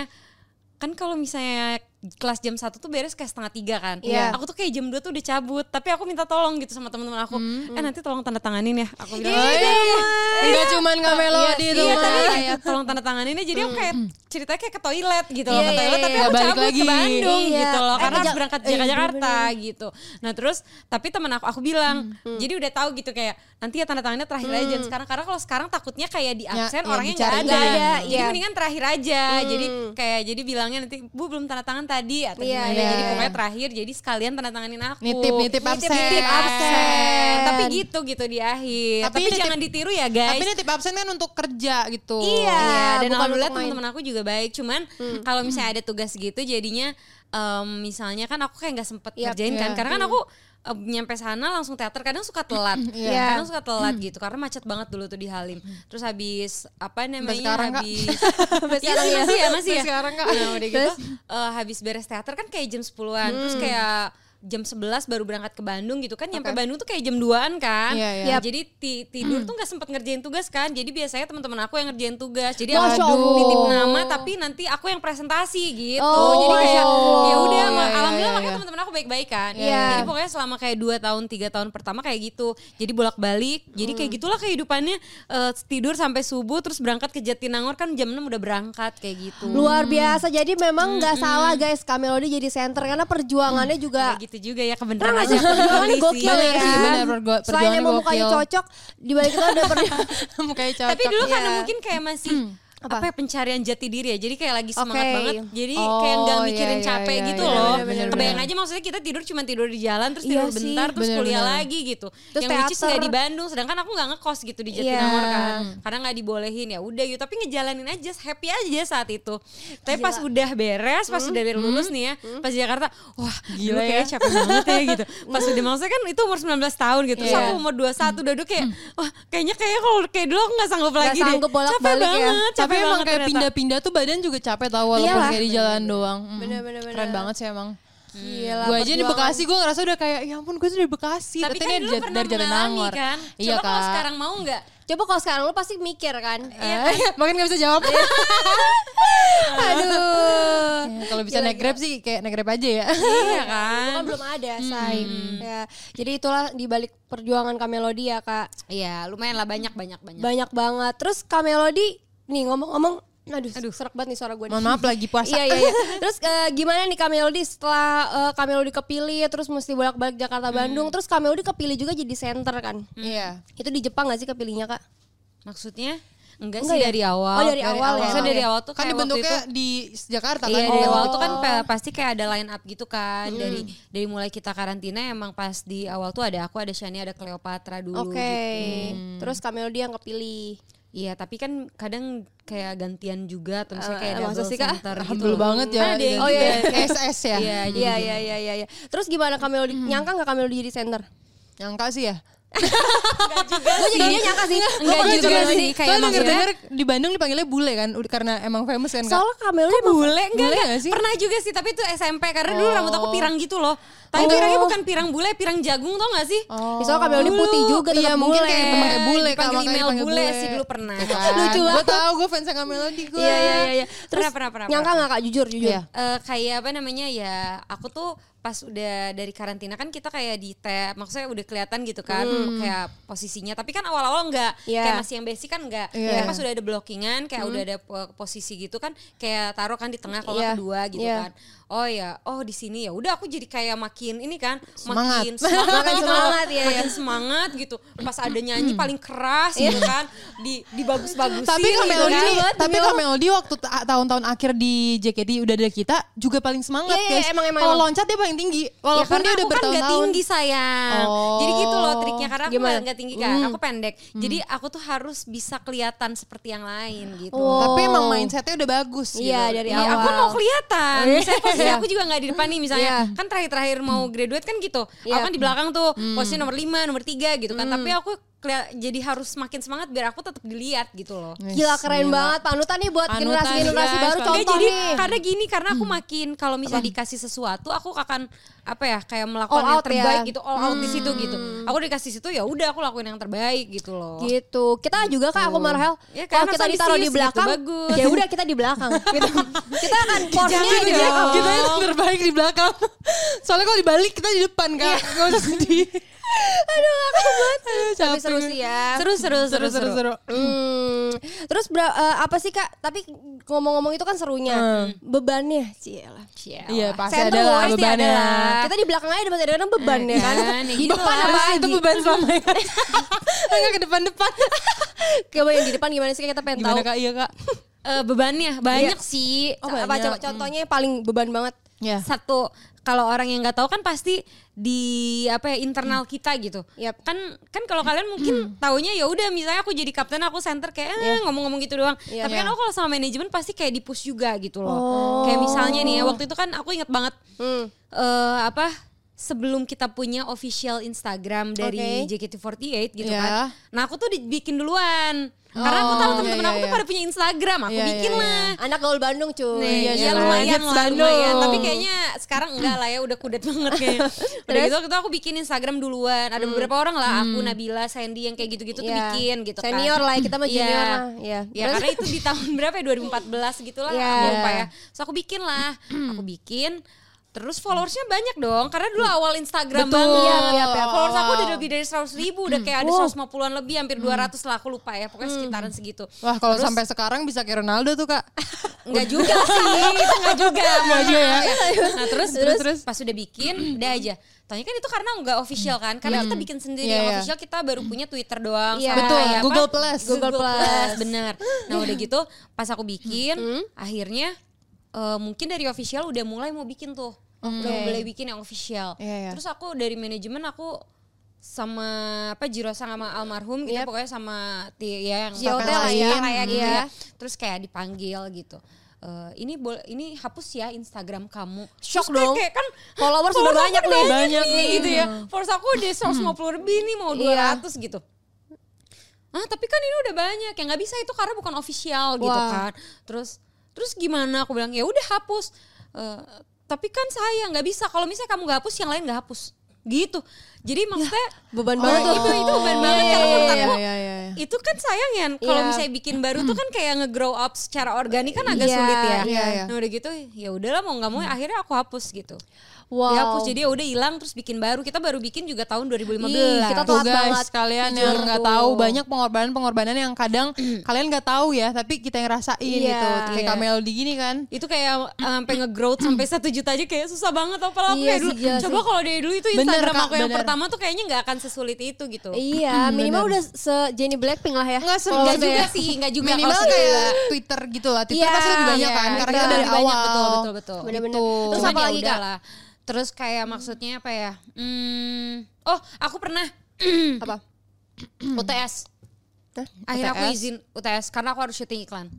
Speaker 5: kan kalau misalnya kelas jam satu tuh beres kayak setengah tiga kan.
Speaker 3: Iya.
Speaker 5: Aku tuh kayak jam 2 tuh udah cabut, tapi aku minta tolong gitu sama teman-teman aku.
Speaker 4: Hmm.
Speaker 5: Eh nanti tolong tanda tanganin ya. Aku bilang.
Speaker 3: Iya,
Speaker 5: "Eh,
Speaker 3: Enggak cuman nggak melodi
Speaker 5: iya,
Speaker 3: tuh
Speaker 5: iya, tapi
Speaker 3: mah.
Speaker 5: kayak tolong tanda tanganinnya jadi aku kayak ceritanya kayak ke toilet gitu loh
Speaker 4: Iya,
Speaker 5: ke
Speaker 4: iya,
Speaker 5: toilet tapi
Speaker 3: iya,
Speaker 5: aku
Speaker 3: balik
Speaker 5: cabut
Speaker 3: lagi.
Speaker 5: ke Bandung
Speaker 4: Iya.
Speaker 5: gitu loh
Speaker 4: Eh,
Speaker 5: karena
Speaker 4: ke
Speaker 5: harus
Speaker 4: Jak-
Speaker 5: berangkat
Speaker 4: eh,
Speaker 5: ke
Speaker 4: iya,
Speaker 5: Jakarta gitu nah terus tapi temen aku aku bilang jadi udah tahu gitu kayak nanti ya tanda tangannya terakhir aja jangan sekarang karena kalau sekarang takutnya kayak di absen
Speaker 3: ya,
Speaker 5: orangnya nggak
Speaker 3: dicari.
Speaker 5: ada,
Speaker 4: Nggak ada,
Speaker 5: jadi
Speaker 4: iya.
Speaker 5: mendingan terakhir aja jadi kayak jadi bilangnya nanti bu belum tanda tangan tadi atau
Speaker 4: Iya,
Speaker 5: gimana
Speaker 4: iya,
Speaker 5: jadi
Speaker 4: iya.
Speaker 5: pokoknya terakhir jadi sekalian tanda tanganin aku
Speaker 3: Nitip, nitip absen.
Speaker 5: nitip absen tapi gitu gitu di akhir
Speaker 3: Tapi
Speaker 5: tapi,
Speaker 3: nitip-
Speaker 5: jangan ditiru ya guys
Speaker 3: Tapi ini tip absen kan untuk kerja gitu.
Speaker 5: Iya, dan
Speaker 4: bukan
Speaker 5: alhamdulillah
Speaker 4: untuk main. Hmm.
Speaker 5: teman-teman aku juga baik. Cuman kalau misalnya ada tugas gitu jadinya em, misalnya kan aku kayak nggak sempet
Speaker 4: Yap,
Speaker 5: ngerjain kan
Speaker 3: iya.
Speaker 5: karena kan
Speaker 4: Hmm.
Speaker 5: aku em, nyampe sana langsung teater kadang suka telat.
Speaker 4: Iya. Hmm.
Speaker 5: Kadang suka telat gitu karena macet banget dulu tuh di Halim. Terus habis apa namanya?
Speaker 3: sekarang, Kak.
Speaker 5: habis
Speaker 4: Sampai
Speaker 5: Iya
Speaker 4: sekarang
Speaker 5: sih,
Speaker 4: ya.
Speaker 5: masih ya, masih ya.
Speaker 3: Sampai sekarang, Kak.
Speaker 5: Nah, udah gitu eh, habis beres teater kan kayak jam 10-an. Terus
Speaker 3: Hmm.
Speaker 5: kayak jam 11 baru berangkat ke Bandung gitu kan nyampe Bandung tuh kayak jam 2-an kan.
Speaker 3: Iya, Hmm. iya.
Speaker 5: Nah, Jadi ti- tidur tuh nggak sempat ngerjain tugas kan. Jadi biasanya teman-teman aku yang ngerjain tugas. Jadi
Speaker 4: Masya
Speaker 5: aku
Speaker 4: Allah.
Speaker 5: nitip nama tapi nanti aku yang presentasi gitu.
Speaker 4: Oh,
Speaker 5: Jadi kayak
Speaker 4: Masya Allah.
Speaker 5: ya udah
Speaker 3: Iya, iya,
Speaker 5: alhamdulillah
Speaker 3: iya,
Speaker 5: makanya
Speaker 3: iya.
Speaker 5: teman-teman aku baik-baik kan.
Speaker 4: Iya.
Speaker 5: Jadi pokoknya selama kayak 2 tahun, 3 tahun pertama kayak gitu. Jadi bolak-balik. Jadi
Speaker 3: Hmm.
Speaker 5: kayak gitulah kehidupannya eh, tidur sampai subuh terus berangkat ke Jatinangor kan jam 6 udah berangkat kayak gitu.
Speaker 4: Luar
Speaker 3: Hmm.
Speaker 4: biasa. Jadi memang nggak salah guys Kamelody jadi center karena perjuangannya juga
Speaker 5: Kayak gitu juga ya kebenaran
Speaker 4: Nah,
Speaker 5: aja
Speaker 4: perjuangannya
Speaker 5: aku
Speaker 4: gokil
Speaker 5: polisi.
Speaker 3: Bener
Speaker 4: ya.
Speaker 3: sih, bener, pergo-
Speaker 4: Selain
Speaker 3: perjuangannya
Speaker 4: emang mukanya
Speaker 3: gokil. Hmm.
Speaker 4: cocok, di balik itu ada perjuangan.
Speaker 3: Mukanya cocok.
Speaker 5: Tapi dulu karena
Speaker 3: Iya.
Speaker 5: mungkin kayak masih apa? ya pencarian jati diri ya. Jadi kayak lagi semangat
Speaker 4: Oke.
Speaker 5: banget. Jadi
Speaker 3: Oh,
Speaker 5: kayak nggak
Speaker 3: iya,
Speaker 5: mikirin
Speaker 3: iya,
Speaker 5: capek
Speaker 3: iya,
Speaker 5: gitu
Speaker 3: iya,
Speaker 5: loh.
Speaker 3: bener, bener,
Speaker 5: Kebayang
Speaker 3: bener.
Speaker 5: aja maksudnya kita tidur cuma tidur di jalan terus
Speaker 4: Iya
Speaker 5: tidur
Speaker 4: sih,
Speaker 5: bentar terus
Speaker 3: bener,
Speaker 5: kuliah
Speaker 3: bener.
Speaker 5: lagi gitu.
Speaker 4: Terus
Speaker 5: yang which is
Speaker 4: teater.
Speaker 5: nggak di Bandung sedangkan aku nggak ngekos gitu di Jatinangor
Speaker 4: Iya.
Speaker 5: kan. Karena nggak dibolehin ya udah gitu tapi ngejalanin aja happy aja saat itu. Tapi pas udah beres, pas udah lulus nih ya, pas di Jakarta, wah
Speaker 3: Hmm,
Speaker 5: gila
Speaker 3: Gila
Speaker 5: kayaknya
Speaker 3: ya.
Speaker 5: capek banget ya gitu. Pas udah maksudnya kan itu umur 19 tahun gitu. Terus
Speaker 3: Iya.
Speaker 5: aku umur 21 udah dulu kayak wah kayaknya kayak kalau kayak dulu aku nggak sanggup lagi deh.
Speaker 4: sanggup bolak-balik
Speaker 5: capek
Speaker 4: ya.
Speaker 5: banget,
Speaker 3: Tapi emang
Speaker 5: capek banget
Speaker 3: kayak
Speaker 5: ternyata.
Speaker 3: pindah-pindah tuh badan juga capek tau walaupun
Speaker 4: Iyalah.
Speaker 3: kayak di jalan doang. Mm.
Speaker 4: Bener, bener, bener.
Speaker 3: Keren banget sih emang.
Speaker 4: Gila,
Speaker 3: Gue aja di
Speaker 4: perjuangan.
Speaker 3: Bekasi gue ngerasa udah kayak ya ampun gue tuh dari Bekasi.
Speaker 5: Tapi kan
Speaker 3: ini
Speaker 5: dulu
Speaker 3: dari-
Speaker 5: pernah
Speaker 3: dari jalan
Speaker 5: mengalami
Speaker 3: Nangor.
Speaker 5: kan.
Speaker 3: Iya
Speaker 5: Coba kalau
Speaker 3: kak.
Speaker 5: sekarang iya. mau nggak?
Speaker 4: Coba kalau sekarang lu pasti mikir kan.
Speaker 3: Eh, Makin gak bisa jawab.
Speaker 5: Iya.
Speaker 4: Aduh.
Speaker 3: Ya, Kalau bisa
Speaker 4: Gila,
Speaker 3: naik
Speaker 4: gila.
Speaker 3: grab sih kayak naik grab aja ya.
Speaker 5: iya kan.
Speaker 4: Kan belum ada, Say. Ya, jadi itulah di balik perjuangan Kamelody ya, Kak.
Speaker 5: Iya, lumayan lah banyak banyak banyak.
Speaker 4: Banyak banget. Terus Kamelody nih ngomong-ngomong aduh, serak banget nih suara gue.
Speaker 3: Mohon maaf lagi puasa.
Speaker 4: Iya iya iya. Terus eh, gimana nih Kamelody setelah eh, Kamelody kepilih terus mesti bolak-balik Jakarta Bandung terus Kamelody kepilih juga jadi center kan.
Speaker 3: Iya.
Speaker 4: Itu di Jepang gak sih kepilihnya Kak?
Speaker 5: Maksudnya enggak,
Speaker 4: Enggak
Speaker 5: sih
Speaker 4: ya?
Speaker 5: dari awal.
Speaker 4: Oh, dari awal ya.
Speaker 5: Maksudnya dari
Speaker 4: Oke.
Speaker 5: awal tuh
Speaker 3: Kan
Speaker 5: kayak waktu itu
Speaker 3: dibentuknya di Jakarta kan.
Speaker 5: Iya dari
Speaker 3: Oh.
Speaker 5: awal tuh kan pe- pasti kayak ada line up gitu kan dari dari mulai kita karantina emang pas di awal tuh ada aku ada Shani ada Cleopatra dulu gitu.
Speaker 4: Oke. Terus Kamelody yang kepilih.
Speaker 5: Iya, tapi kan kadang kayak gantian juga atau misalnya kayak
Speaker 4: Eh, masa
Speaker 5: double
Speaker 4: sih, Kak?
Speaker 5: center gitu.
Speaker 3: Humble
Speaker 5: loh.
Speaker 3: banget ya.
Speaker 5: Ada yang
Speaker 3: Oh
Speaker 5: juga.
Speaker 3: iya, SS ya.
Speaker 5: Iya, jadi
Speaker 4: Iya iya iya iya iya. Terus gimana Kamelody? Nyangka gak Kamelody jadi center?
Speaker 3: Nyangka sih ya.
Speaker 4: Gue jadi dia nyangka sih.
Speaker 5: Enggak
Speaker 3: Gue
Speaker 5: juga sih kayak
Speaker 3: Soalnya
Speaker 5: maksudnya
Speaker 3: denger-denger di Bandung dipanggilnya bule kan ud- karena emang famous kan Kak.
Speaker 4: Soalnya Kamelody emang ya?
Speaker 5: bule enggak
Speaker 3: Bule
Speaker 5: enggak.
Speaker 3: nggak sih?
Speaker 5: Pernah juga sih, tapi itu SMP karena dulu rambut aku pirang gitu loh. Tapi
Speaker 4: Oh.
Speaker 5: pirangnya bukan pirang bule, pirang jagung tau gak sih?
Speaker 3: Oh.
Speaker 4: Ya, soalnya Kamelody
Speaker 3: Dulu.
Speaker 4: putih juga tetap
Speaker 3: Iya mungkin
Speaker 4: bule.
Speaker 3: kayak temennya bule Kak,
Speaker 5: Dipanggil
Speaker 3: makanya
Speaker 5: email
Speaker 3: dipanggil
Speaker 5: bule sih dulu pernah.
Speaker 3: Ya kan?
Speaker 4: Lucu
Speaker 3: Gue
Speaker 4: banget.
Speaker 3: tau gue fansnya Kak Melody gue.
Speaker 4: Iya iya iya. iya. Terus
Speaker 5: Pernah, pernah, pernah,
Speaker 4: nyangka
Speaker 5: pernah.
Speaker 4: gak Kak jujur jujur?
Speaker 3: Iya.
Speaker 5: Eh, kayak apa namanya ya aku tuh pas udah dari karantina kan kita kayak di tab maksudnya udah kelihatan gitu kan kayak posisinya tapi kan awal-awal enggak
Speaker 4: Hmm. Iya. Hmm.
Speaker 5: kayak masih yang basic kan enggak
Speaker 3: Iya.
Speaker 5: Tapi pas udah ada blockingan kayak udah ada po- posisi gitu kan kayak taruh kan di tengah kalau
Speaker 4: Iya.
Speaker 5: nggak kedua gitu
Speaker 4: Iya.
Speaker 5: kan oh ya oh di sini ya udah aku jadi kayak makin ini kan
Speaker 3: Semangat.
Speaker 5: makin semangat,
Speaker 4: Makin
Speaker 5: gitu loh.
Speaker 4: semangat, iya, Hmm.
Speaker 5: makin semangat gitu pas ada nyanyi paling keras gitu
Speaker 4: Iya.
Speaker 5: kan di dibagus-bagusin
Speaker 3: Tapi Kak
Speaker 5: gitu
Speaker 3: Melody,
Speaker 5: kan.
Speaker 3: tapi Kak Melody waktu ta- tahun-tahun akhir di JKT udah ada kita juga paling semangat
Speaker 4: Iya, iya,
Speaker 3: guys.
Speaker 4: emang, emang,
Speaker 3: Kalau
Speaker 4: emang.
Speaker 3: loncat dia paling tinggi
Speaker 5: Ya
Speaker 3: walaupun
Speaker 5: karena
Speaker 3: dia udah
Speaker 5: aku kan gak
Speaker 3: bertahun-tahun.
Speaker 5: tinggi sayang
Speaker 3: Oh.
Speaker 5: Jadi gitu loh triknya Karena aku
Speaker 4: Gimana? Hmm.
Speaker 5: gak, gak tinggi kan Aku pendek Jadi aku tuh harus bisa kelihatan seperti yang lain gitu
Speaker 4: Oh.
Speaker 3: Tapi emang mindsetnya udah bagus
Speaker 4: Iya
Speaker 3: gitu.
Speaker 4: dari
Speaker 5: Iya,
Speaker 4: awal.
Speaker 5: aku mau kelihatan. Misalnya posisi
Speaker 4: Iya.
Speaker 5: aku juga nggak di depan nih misalnya.
Speaker 4: Iya.
Speaker 5: Kan terakhir-terakhir mau graduate kan gitu.
Speaker 4: Iya. Hmm.
Speaker 5: Aku kan di belakang tuh posisi nomor 5, nomor 3 gitu kan. Tapi aku kelia- jadi harus makin semangat biar aku tetap dilihat gitu loh.
Speaker 4: Gila keren banget panutan nih buat
Speaker 5: Panutan,
Speaker 4: generasi-generasi
Speaker 5: guys.
Speaker 4: baru
Speaker 5: Enggak,
Speaker 4: contoh
Speaker 5: Anu, jadi,
Speaker 4: nih.
Speaker 5: Karena gini, karena aku makin kalau misalnya dikasih sesuatu, aku akan apa ya kayak melakukan
Speaker 4: All
Speaker 5: yang
Speaker 4: out ya.
Speaker 5: terbaik gitu, all out di situ gitu. Aku dikasih situ ya udah aku lakuin yang terbaik gitu loh.
Speaker 4: Gitu. Kita juga kak aku sama Rahel.
Speaker 5: Ya,
Speaker 4: kalau
Speaker 5: karena
Speaker 4: kita ditaruh di
Speaker 5: ambisius
Speaker 4: belakang,
Speaker 5: gitu, bagus.
Speaker 4: ya udah kita di belakang. gitu. Kita akan porsinya
Speaker 3: Jangan
Speaker 5: gitu
Speaker 4: di
Speaker 3: dong.
Speaker 4: belakang.
Speaker 3: Kita
Speaker 5: ya.
Speaker 3: yang terbaik di belakang. Soalnya kalau dibalik kita di depan
Speaker 4: Iya.
Speaker 3: kak. Gak usah sedih. Aduh aku banget.
Speaker 4: Tapi seru sih ya.
Speaker 5: Seru seru seru
Speaker 3: Seru seru seru.
Speaker 4: Hmm. Terus bera- eh, apa sih kak? Tapi ngomong-ngomong itu kan serunya.
Speaker 5: Hmm.
Speaker 4: Bebannya sih lah.
Speaker 5: Ciel.
Speaker 3: Iya pasti
Speaker 4: Center
Speaker 3: ada lah
Speaker 4: pasti
Speaker 3: bebannya.
Speaker 4: ada lah. Kita di belakang aja masih ada kadang beban ya kan.
Speaker 5: Kan, ya gitu
Speaker 3: Beban
Speaker 5: lah.
Speaker 3: apa? Itu beban selama ini. Enggak ke depan-depan.
Speaker 4: Coba yang di depan gimana sih Kak? kita pengen tahu.
Speaker 3: Gimana kak? Iya kak.
Speaker 5: Eh, bebannya banyak sih.
Speaker 4: Oh,
Speaker 5: Apa,
Speaker 4: apa
Speaker 5: coba-
Speaker 4: coba contohnya yang paling beban banget?
Speaker 3: Ya.
Speaker 5: satu kalau orang yang nggak tahu kan pasti di apa ya internal
Speaker 3: Hmm.
Speaker 5: kita gitu
Speaker 4: Yap.
Speaker 5: kan kan kalau kalian mungkin taunya ya udah misalnya aku jadi kapten aku center kayak eh, ngomong-ngomong gitu doang
Speaker 4: Iya.
Speaker 5: tapi
Speaker 3: Iya.
Speaker 5: kan aku kalau sama manajemen pasti kayak di push juga gitu loh
Speaker 3: Oh.
Speaker 5: kayak misalnya nih ya waktu itu kan aku ingat banget
Speaker 4: Hmm.
Speaker 5: eh, apa sebelum kita punya official Instagram dari JKT48 gitu
Speaker 3: Iya.
Speaker 5: kan nah aku tuh dibikin duluan karena aku tahu
Speaker 3: Oh,
Speaker 5: temen-temen
Speaker 3: iya,
Speaker 5: aku tuh
Speaker 3: iya.
Speaker 5: pada punya Instagram aku
Speaker 3: Iya, iya,
Speaker 5: bikin
Speaker 3: iya.
Speaker 5: lah
Speaker 4: Anak gaul Bandung cuy.
Speaker 5: Eh. Nih,
Speaker 3: iya,
Speaker 5: ya
Speaker 3: jalan.
Speaker 5: lumayan
Speaker 3: Hits
Speaker 5: lah,
Speaker 3: Bandung.
Speaker 5: lumayan. Tapi kayaknya sekarang enggak lah ya, udah kudet banget kayaknya. Udah gitu waktu itu aku bikin Instagram duluan. Ada beberapa orang lah, aku Nabila, Sandy yang kayak gitu-gitu tuh
Speaker 4: Hmm. Iya.
Speaker 5: bikin gitu kan.
Speaker 4: Senior lah, kita mah
Speaker 5: Iya.
Speaker 4: junior lah. Iya.
Speaker 5: Ya
Speaker 4: Terus?
Speaker 5: karena itu di tahun berapa ya, 2014 gitu lah,
Speaker 4: Iya.
Speaker 5: aku lupa ya. So aku bikin lah, aku bikin. Terus followersnya banyak dong, karena dulu awal Instagram
Speaker 3: Betul.
Speaker 5: banget.
Speaker 3: Iya, iya, iya.
Speaker 5: Followers aku
Speaker 4: Oh.
Speaker 5: udah lebih dari 100 ribu, udah kayak ada 150-an lebih, hampir
Speaker 4: Hmm.
Speaker 5: 200 lah aku lupa ya. Pokoknya sekitaran segitu.
Speaker 3: Wah kalau sampai sekarang bisa kayak Ronaldo tuh kak.
Speaker 5: Enggak juga sih, itu enggak juga.
Speaker 3: Enggak juga ya.
Speaker 4: Iya.
Speaker 5: Nah terus, terus, terus pas udah bikin udah aja. Tanya kan itu karena nggak official kan? Karena kita bikin sendiri
Speaker 3: Iya,
Speaker 5: yang
Speaker 3: iya.
Speaker 5: official kita baru punya Twitter doang.
Speaker 4: Iya.
Speaker 5: sama
Speaker 4: Betul,
Speaker 5: kayak apa?
Speaker 3: Google Plus.
Speaker 5: Google,
Speaker 4: Google
Speaker 5: Plus,
Speaker 4: Plus.
Speaker 5: bener. Nah udah gitu pas aku bikin, akhirnya eh, mungkin dari official udah mulai mau bikin tuh, udah
Speaker 4: Oke.
Speaker 5: mulai bikin yang official.
Speaker 3: Iya, iya.
Speaker 5: Terus aku dari manajemen aku sama apa Jirosa sama almarhum gitu pokoknya sama ti- ya yang
Speaker 4: JOT
Speaker 5: Kakak
Speaker 4: lah ya.
Speaker 5: saya kayak gitu
Speaker 4: Iya.
Speaker 5: ya terus kayak dipanggil gitu Eh, ini bol- ini hapus ya Instagram kamu
Speaker 4: Shock
Speaker 5: Terus kan
Speaker 4: dong.
Speaker 5: kayak kan
Speaker 4: Followers udah
Speaker 5: aku
Speaker 4: banyak
Speaker 5: udah
Speaker 4: nih.
Speaker 5: banyak nih gitu ya followers aku udah 150 lebih nih mau
Speaker 4: Iya.
Speaker 5: 200 gitu ah tapi kan ini udah banyak ya nggak bisa itu karena bukan official gitu
Speaker 4: Wah.
Speaker 5: kan terus terus gimana aku bilang ya udah hapus Eh, tapi kan saya nggak bisa kalau misalnya kamu nggak hapus yang lain nggak hapus gitu jadi maksudnya
Speaker 4: Beban
Speaker 3: Oh,
Speaker 4: banget tuh.
Speaker 5: itu itu beban banget
Speaker 4: Iya,
Speaker 5: karena
Speaker 4: iya,
Speaker 5: menurut
Speaker 4: iya,
Speaker 5: aku
Speaker 3: Iya iya. iya.
Speaker 5: itu kan sayang ya kalau
Speaker 4: Iya.
Speaker 5: misalnya bikin baru tuh kan kayak nge-grow up secara organik kan agak
Speaker 4: Iya,
Speaker 5: sulit ya.
Speaker 3: iya, iya.
Speaker 5: Nah udah gitu ya udahlah mau nggak mau akhirnya aku hapus gitu.
Speaker 4: Wow.
Speaker 5: Dihapus jadi ya udah hilang terus bikin baru. Kita baru bikin juga tahun 2015.
Speaker 4: Ih, kita
Speaker 3: Tuh
Speaker 4: telat banget.
Speaker 3: guys, kalian yang
Speaker 4: Jujur
Speaker 3: nggak
Speaker 4: tuh.
Speaker 3: tahu banyak pengorbanan-pengorbanan yang kadang kalian nggak tahu ya, tapi kita yang rasain
Speaker 4: Iya.
Speaker 3: gitu. Kayak
Speaker 5: Iya.
Speaker 3: Kak Melody gini kan.
Speaker 5: itu kayak sampai nge-growth sampai satu juta aja kayak susah banget apalagi
Speaker 4: Iya
Speaker 5: kayak ya dulu.
Speaker 4: sih, gila
Speaker 5: Coba
Speaker 4: sih.
Speaker 5: kalau dari dulu itu
Speaker 3: Bener,
Speaker 5: Instagram
Speaker 3: Kak,
Speaker 5: aku yang
Speaker 3: bener.
Speaker 5: pertama tuh kayaknya nggak akan sesulit itu gitu.
Speaker 4: Iya, minimal udah se Jenny Blackpink lah ya.
Speaker 3: Nggak
Speaker 5: Enggak
Speaker 3: semuanya.
Speaker 5: juga sih, enggak juga
Speaker 3: Minimal
Speaker 5: kalau segitu.
Speaker 3: kayak Twitter gitu lah. Twitter
Speaker 4: Iya,
Speaker 3: pasti lebih banyak
Speaker 5: Iya,
Speaker 3: kan. Karena
Speaker 5: betul.
Speaker 3: kita dari
Speaker 5: Lebih
Speaker 3: awal.
Speaker 5: banyak, betul betul betul.
Speaker 4: Bener-bener.
Speaker 3: Gitu.
Speaker 4: Terus
Speaker 5: Cuman
Speaker 4: apa
Speaker 5: ya
Speaker 4: lagi kak?
Speaker 5: udahlah. Terus kayak maksudnya apa ya? Hmm, oh, aku pernah
Speaker 4: Apa?
Speaker 5: UTS.
Speaker 4: Hah?
Speaker 5: Akhirnya aku
Speaker 3: UTS?
Speaker 5: izin UTS karena aku harus syuting iklan.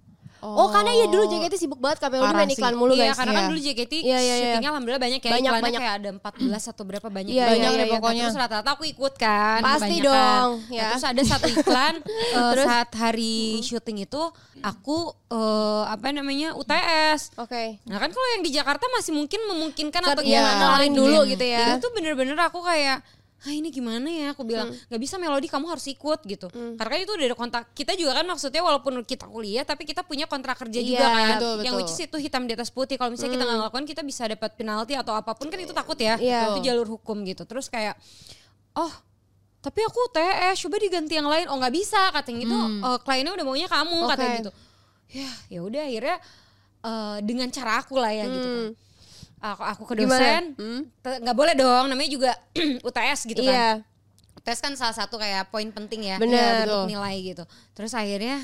Speaker 4: Oh, karena ya dulu JKT sibuk banget Kak Melody
Speaker 3: Parah
Speaker 4: main
Speaker 3: sih.
Speaker 4: iklan mulu Oh,
Speaker 5: iya,
Speaker 4: guys.
Speaker 5: karena kan
Speaker 3: iya.
Speaker 5: dulu JKT
Speaker 4: Iya, iya, iya.
Speaker 5: syutingnya alhamdulillah banyak ya.
Speaker 4: Banyak,
Speaker 5: iklannya
Speaker 4: banyak.
Speaker 5: kayak ada 14 atau berapa banyak.
Speaker 4: Iya,
Speaker 5: gitu.
Speaker 4: iya,
Speaker 3: iya,
Speaker 5: Nah,
Speaker 3: iya. pokoknya.
Speaker 5: Terus rata-rata aku ikut kan.
Speaker 4: Pasti
Speaker 5: kebanyakan.
Speaker 4: dong,
Speaker 5: Nah,
Speaker 4: ya.
Speaker 5: terus ada satu iklan eh, saat hari syuting itu aku eh, apa namanya UTS.
Speaker 4: Oke.
Speaker 5: Nah kan kalau yang di Jakarta masih mungkin memungkinkan
Speaker 4: Kan
Speaker 5: atau gimana
Speaker 4: iya, ngelarin
Speaker 5: lah
Speaker 4: dulu
Speaker 5: gitu.
Speaker 4: gitu ya.
Speaker 5: Itu tuh bener-bener aku kayak Ah ini gimana ya aku bilang
Speaker 4: Hmm.
Speaker 5: nggak bisa melodi kamu harus ikut gitu karena kan itu udah ada kontrak kita juga kan maksudnya walaupun kita kuliah tapi kita punya kontrak kerja
Speaker 4: Iya,
Speaker 5: juga
Speaker 4: Hmm.
Speaker 5: kan
Speaker 3: betul,
Speaker 5: yang
Speaker 3: betul.
Speaker 5: which is itu hitam di atas putih kalau misalnya kita nggak ngelakuin kita bisa dapat penalti atau apapun kan itu takut ya
Speaker 4: Iya.
Speaker 5: itu jalur hukum gitu terus kayak oh tapi aku TS coba diganti yang lain oh nggak bisa katanya gitu "Eh, kliennya udah maunya kamu katanya
Speaker 4: Hmm. Oke.
Speaker 5: gitu ya ya udah akhirnya eh, dengan cara aku lah ya
Speaker 4: Hmm.
Speaker 5: gitu kan aku aku ke
Speaker 4: Gimana?
Speaker 5: dosen
Speaker 4: Hmm?
Speaker 5: te- nggak boleh dong namanya juga UTS gitu kan
Speaker 4: Iya.
Speaker 5: tes kan salah satu kayak poin penting ya
Speaker 4: Bener.
Speaker 5: untuk nilai gitu terus akhirnya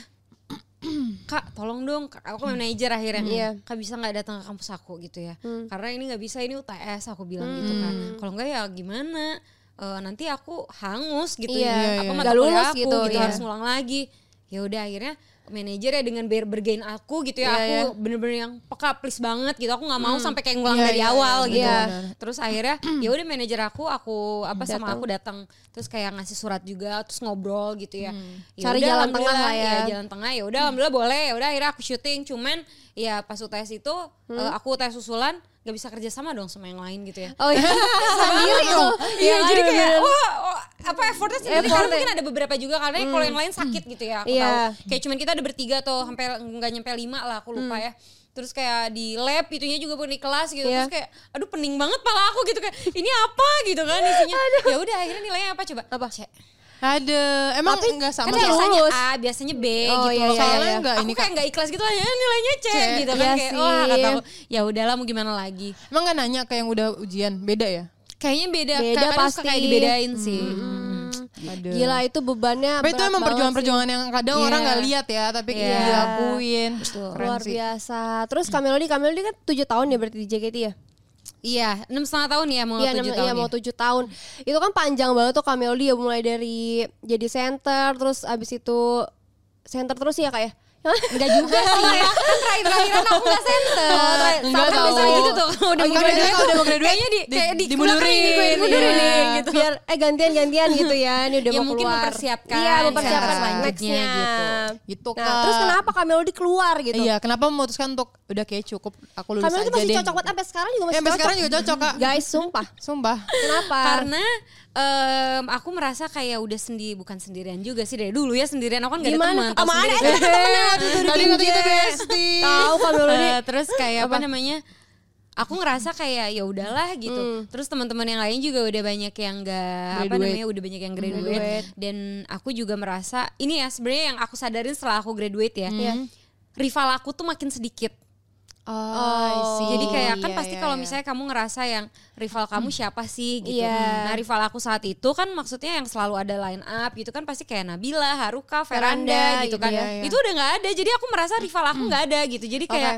Speaker 5: kak tolong dong Kak, aku memang manajer akhirnya
Speaker 4: Iya. Hmm.
Speaker 5: kak bisa nggak datang ke kampus aku gitu ya karena ini nggak bisa ini UTS aku bilang gitu kan kalau nggak ya gimana Eh, nanti aku hangus gitu
Speaker 4: Iya,
Speaker 5: ya apa
Speaker 4: iya. Nggak
Speaker 5: mata kuliah
Speaker 4: lulus
Speaker 5: aku
Speaker 4: gitu,
Speaker 5: gitu,
Speaker 4: iya.
Speaker 5: harus ngulang lagi ya udah akhirnya manajer ya dengan ber- bergain aku gitu ya
Speaker 3: Iya,
Speaker 5: aku bener-bener yang peka please banget gitu aku nggak mau sampai kayak ngulang
Speaker 3: Iya,
Speaker 5: dari
Speaker 3: iya,
Speaker 5: awal
Speaker 3: iya,
Speaker 5: gitu
Speaker 3: benar.
Speaker 5: terus akhirnya ya udah manajer aku aku apa sama
Speaker 4: Datang.
Speaker 5: aku datang terus kayak ngasih surat juga terus ngobrol gitu ya Ya
Speaker 4: Cari
Speaker 5: udah,
Speaker 4: jalan tengah lah ya.
Speaker 5: alhamdulillah. Iya, jalan tengah ya udah alhamdulillah boleh ya udah akhirnya aku syuting cuman ya pas UTS itu eh, aku UTS usulan nggak bisa kerja sama dong sama yang lain gitu ya
Speaker 4: Oh iya, sendiri dong.
Speaker 5: Iya,
Speaker 4: kan,
Speaker 5: jadi kayak
Speaker 4: bener-bener.
Speaker 5: wah, wah, apa effortnya sendiri karena
Speaker 4: Effortnya. Hmm.
Speaker 5: mungkin ada beberapa juga karena kalau yang lain sakit gitu ya aku
Speaker 4: Iya.
Speaker 5: tahu. Kayak cuman kita ada bertiga tuh sampai nggak nyampe lima lah aku lupa
Speaker 4: Hmm.
Speaker 5: ya. Terus kayak di lab itunya juga pun di kelas gitu.
Speaker 4: Iya.
Speaker 5: Terus kayak aduh pening banget pala aku gitu kayak ini apa gitu kan isinya. Ya udah akhirnya nilainya apa coba? Apa? C.
Speaker 3: Ada. Emang enggak sama
Speaker 5: Kan
Speaker 4: Tapi-
Speaker 3: sama.
Speaker 5: biasanya
Speaker 4: lulus.
Speaker 5: A, biasanya B
Speaker 4: Oh,
Speaker 5: gitu.
Speaker 4: iya, iya,
Speaker 3: Soalnya iya. nggak
Speaker 5: aku
Speaker 3: ini,
Speaker 5: kayak
Speaker 3: Kak.
Speaker 5: nggak ikhlas gitu aja nilainya C,
Speaker 3: C.
Speaker 5: gitu kan
Speaker 4: Iya
Speaker 5: kayak
Speaker 4: sih.
Speaker 5: wah kata aku ya udahlah mau gimana lagi.
Speaker 3: Emang nggak nanya ke yang udah ujian, beda ya?
Speaker 5: Kayaknya beda,
Speaker 4: Beda
Speaker 5: kayak kadang suka kayak
Speaker 4: pasti.
Speaker 5: dibedain sih.
Speaker 3: Ada.
Speaker 4: Gila itu bebannya
Speaker 3: Tapi itu
Speaker 4: berat
Speaker 3: emang
Speaker 4: banget sih.
Speaker 3: perjuangan-perjuangan yang kadang orang
Speaker 5: Iya.
Speaker 3: nggak lihat ya, tapi
Speaker 5: Iya.
Speaker 3: dilakuin.
Speaker 5: Betul.
Speaker 3: Keren
Speaker 4: Luar
Speaker 3: sih.
Speaker 4: biasa. Terus Kamelody, Kamelody kan 7 tahun ya berarti di JKT ya?
Speaker 5: Iya, enam setengah tahun ya mau
Speaker 4: Iya,
Speaker 5: tujuh
Speaker 4: enam-
Speaker 5: tahun.
Speaker 4: iya, mau
Speaker 5: ya.
Speaker 4: tujuh tahun. Itu kan panjang banget tuh Kamelody ya mulai dari jadi center terus abis itu center terus ya kayak
Speaker 5: Enggak juga sih. kan terakhir-terakhiran aku enggak center.
Speaker 3: Enggak
Speaker 5: Sampai biasanya
Speaker 3: tahu.
Speaker 5: gitu tuh.
Speaker 3: Oh,
Speaker 5: Kalau udah mau
Speaker 3: kalau
Speaker 5: graduate
Speaker 3: kalau udah mau
Speaker 5: tuh
Speaker 3: graduate,
Speaker 5: Kayaknya di,
Speaker 3: di-
Speaker 5: kayak di
Speaker 3: dimundurin.
Speaker 5: belakang ini gue dimundurin
Speaker 3: Iya.
Speaker 5: nih, gitu.
Speaker 4: biar eh gantian gantian gitu ya. Ini udah
Speaker 5: Ya,
Speaker 4: mau
Speaker 5: mungkin
Speaker 4: keluar.
Speaker 5: mempersiapkan
Speaker 4: Iya, mempersiapkan
Speaker 5: selanjutnya
Speaker 4: nextnya.
Speaker 5: gitu.
Speaker 3: Gitu,
Speaker 4: Nah,
Speaker 3: Kak.
Speaker 4: terus kenapa Kamelody keluar gitu?
Speaker 3: Iya, kenapa memutuskan untuk udah kayak cukup aku lulus
Speaker 4: Kamelody
Speaker 3: aja
Speaker 4: masih
Speaker 3: deh.
Speaker 4: cocok banget sampai sekarang juga
Speaker 3: Ya,
Speaker 4: masih
Speaker 3: sampai
Speaker 4: cocok. Iya.
Speaker 3: sekarang juga cocok, Kak.
Speaker 4: Guys, sumpah.
Speaker 3: Sumpah.
Speaker 4: Kenapa?
Speaker 5: Karena em, aku merasa kayak udah sendiri bukan sendirian juga sih dari dulu ya sendirian aku kan gak ada
Speaker 4: Gimana?
Speaker 5: teman.
Speaker 4: Sama ada, ada
Speaker 5: teman
Speaker 3: Tadi kata kita bestie.
Speaker 4: tahu Kamelody.
Speaker 5: Eh, terus kayak apa, namanya aku ngerasa kayak ya udahlah gitu
Speaker 4: Hmm.
Speaker 5: terus teman-teman yang lain juga udah banyak yang gak apa
Speaker 3: Graduate.
Speaker 5: namanya udah banyak yang graduate,
Speaker 4: Graduate.
Speaker 5: dan aku juga merasa ini ya sebenarnya yang aku sadarin setelah aku graduate ya
Speaker 4: Hmm.
Speaker 5: rival aku tuh makin sedikit
Speaker 3: Oh, I see.
Speaker 5: jadi kayak kan
Speaker 3: Iya,
Speaker 5: pasti
Speaker 3: iya,
Speaker 5: kalau
Speaker 3: iya.
Speaker 5: misalnya kamu ngerasa yang rival kamu siapa sih gitu.
Speaker 4: Iya.
Speaker 5: Nah, rival aku saat itu kan maksudnya yang selalu ada line up gitu kan pasti kayak Nabila, Haruka, Veranda,
Speaker 4: Veranda,
Speaker 5: gitu
Speaker 4: gitu
Speaker 5: kan.
Speaker 4: ya,
Speaker 3: iya.
Speaker 5: Itu udah nggak ada. Jadi aku merasa rival aku nggak ada gitu. Jadi kayak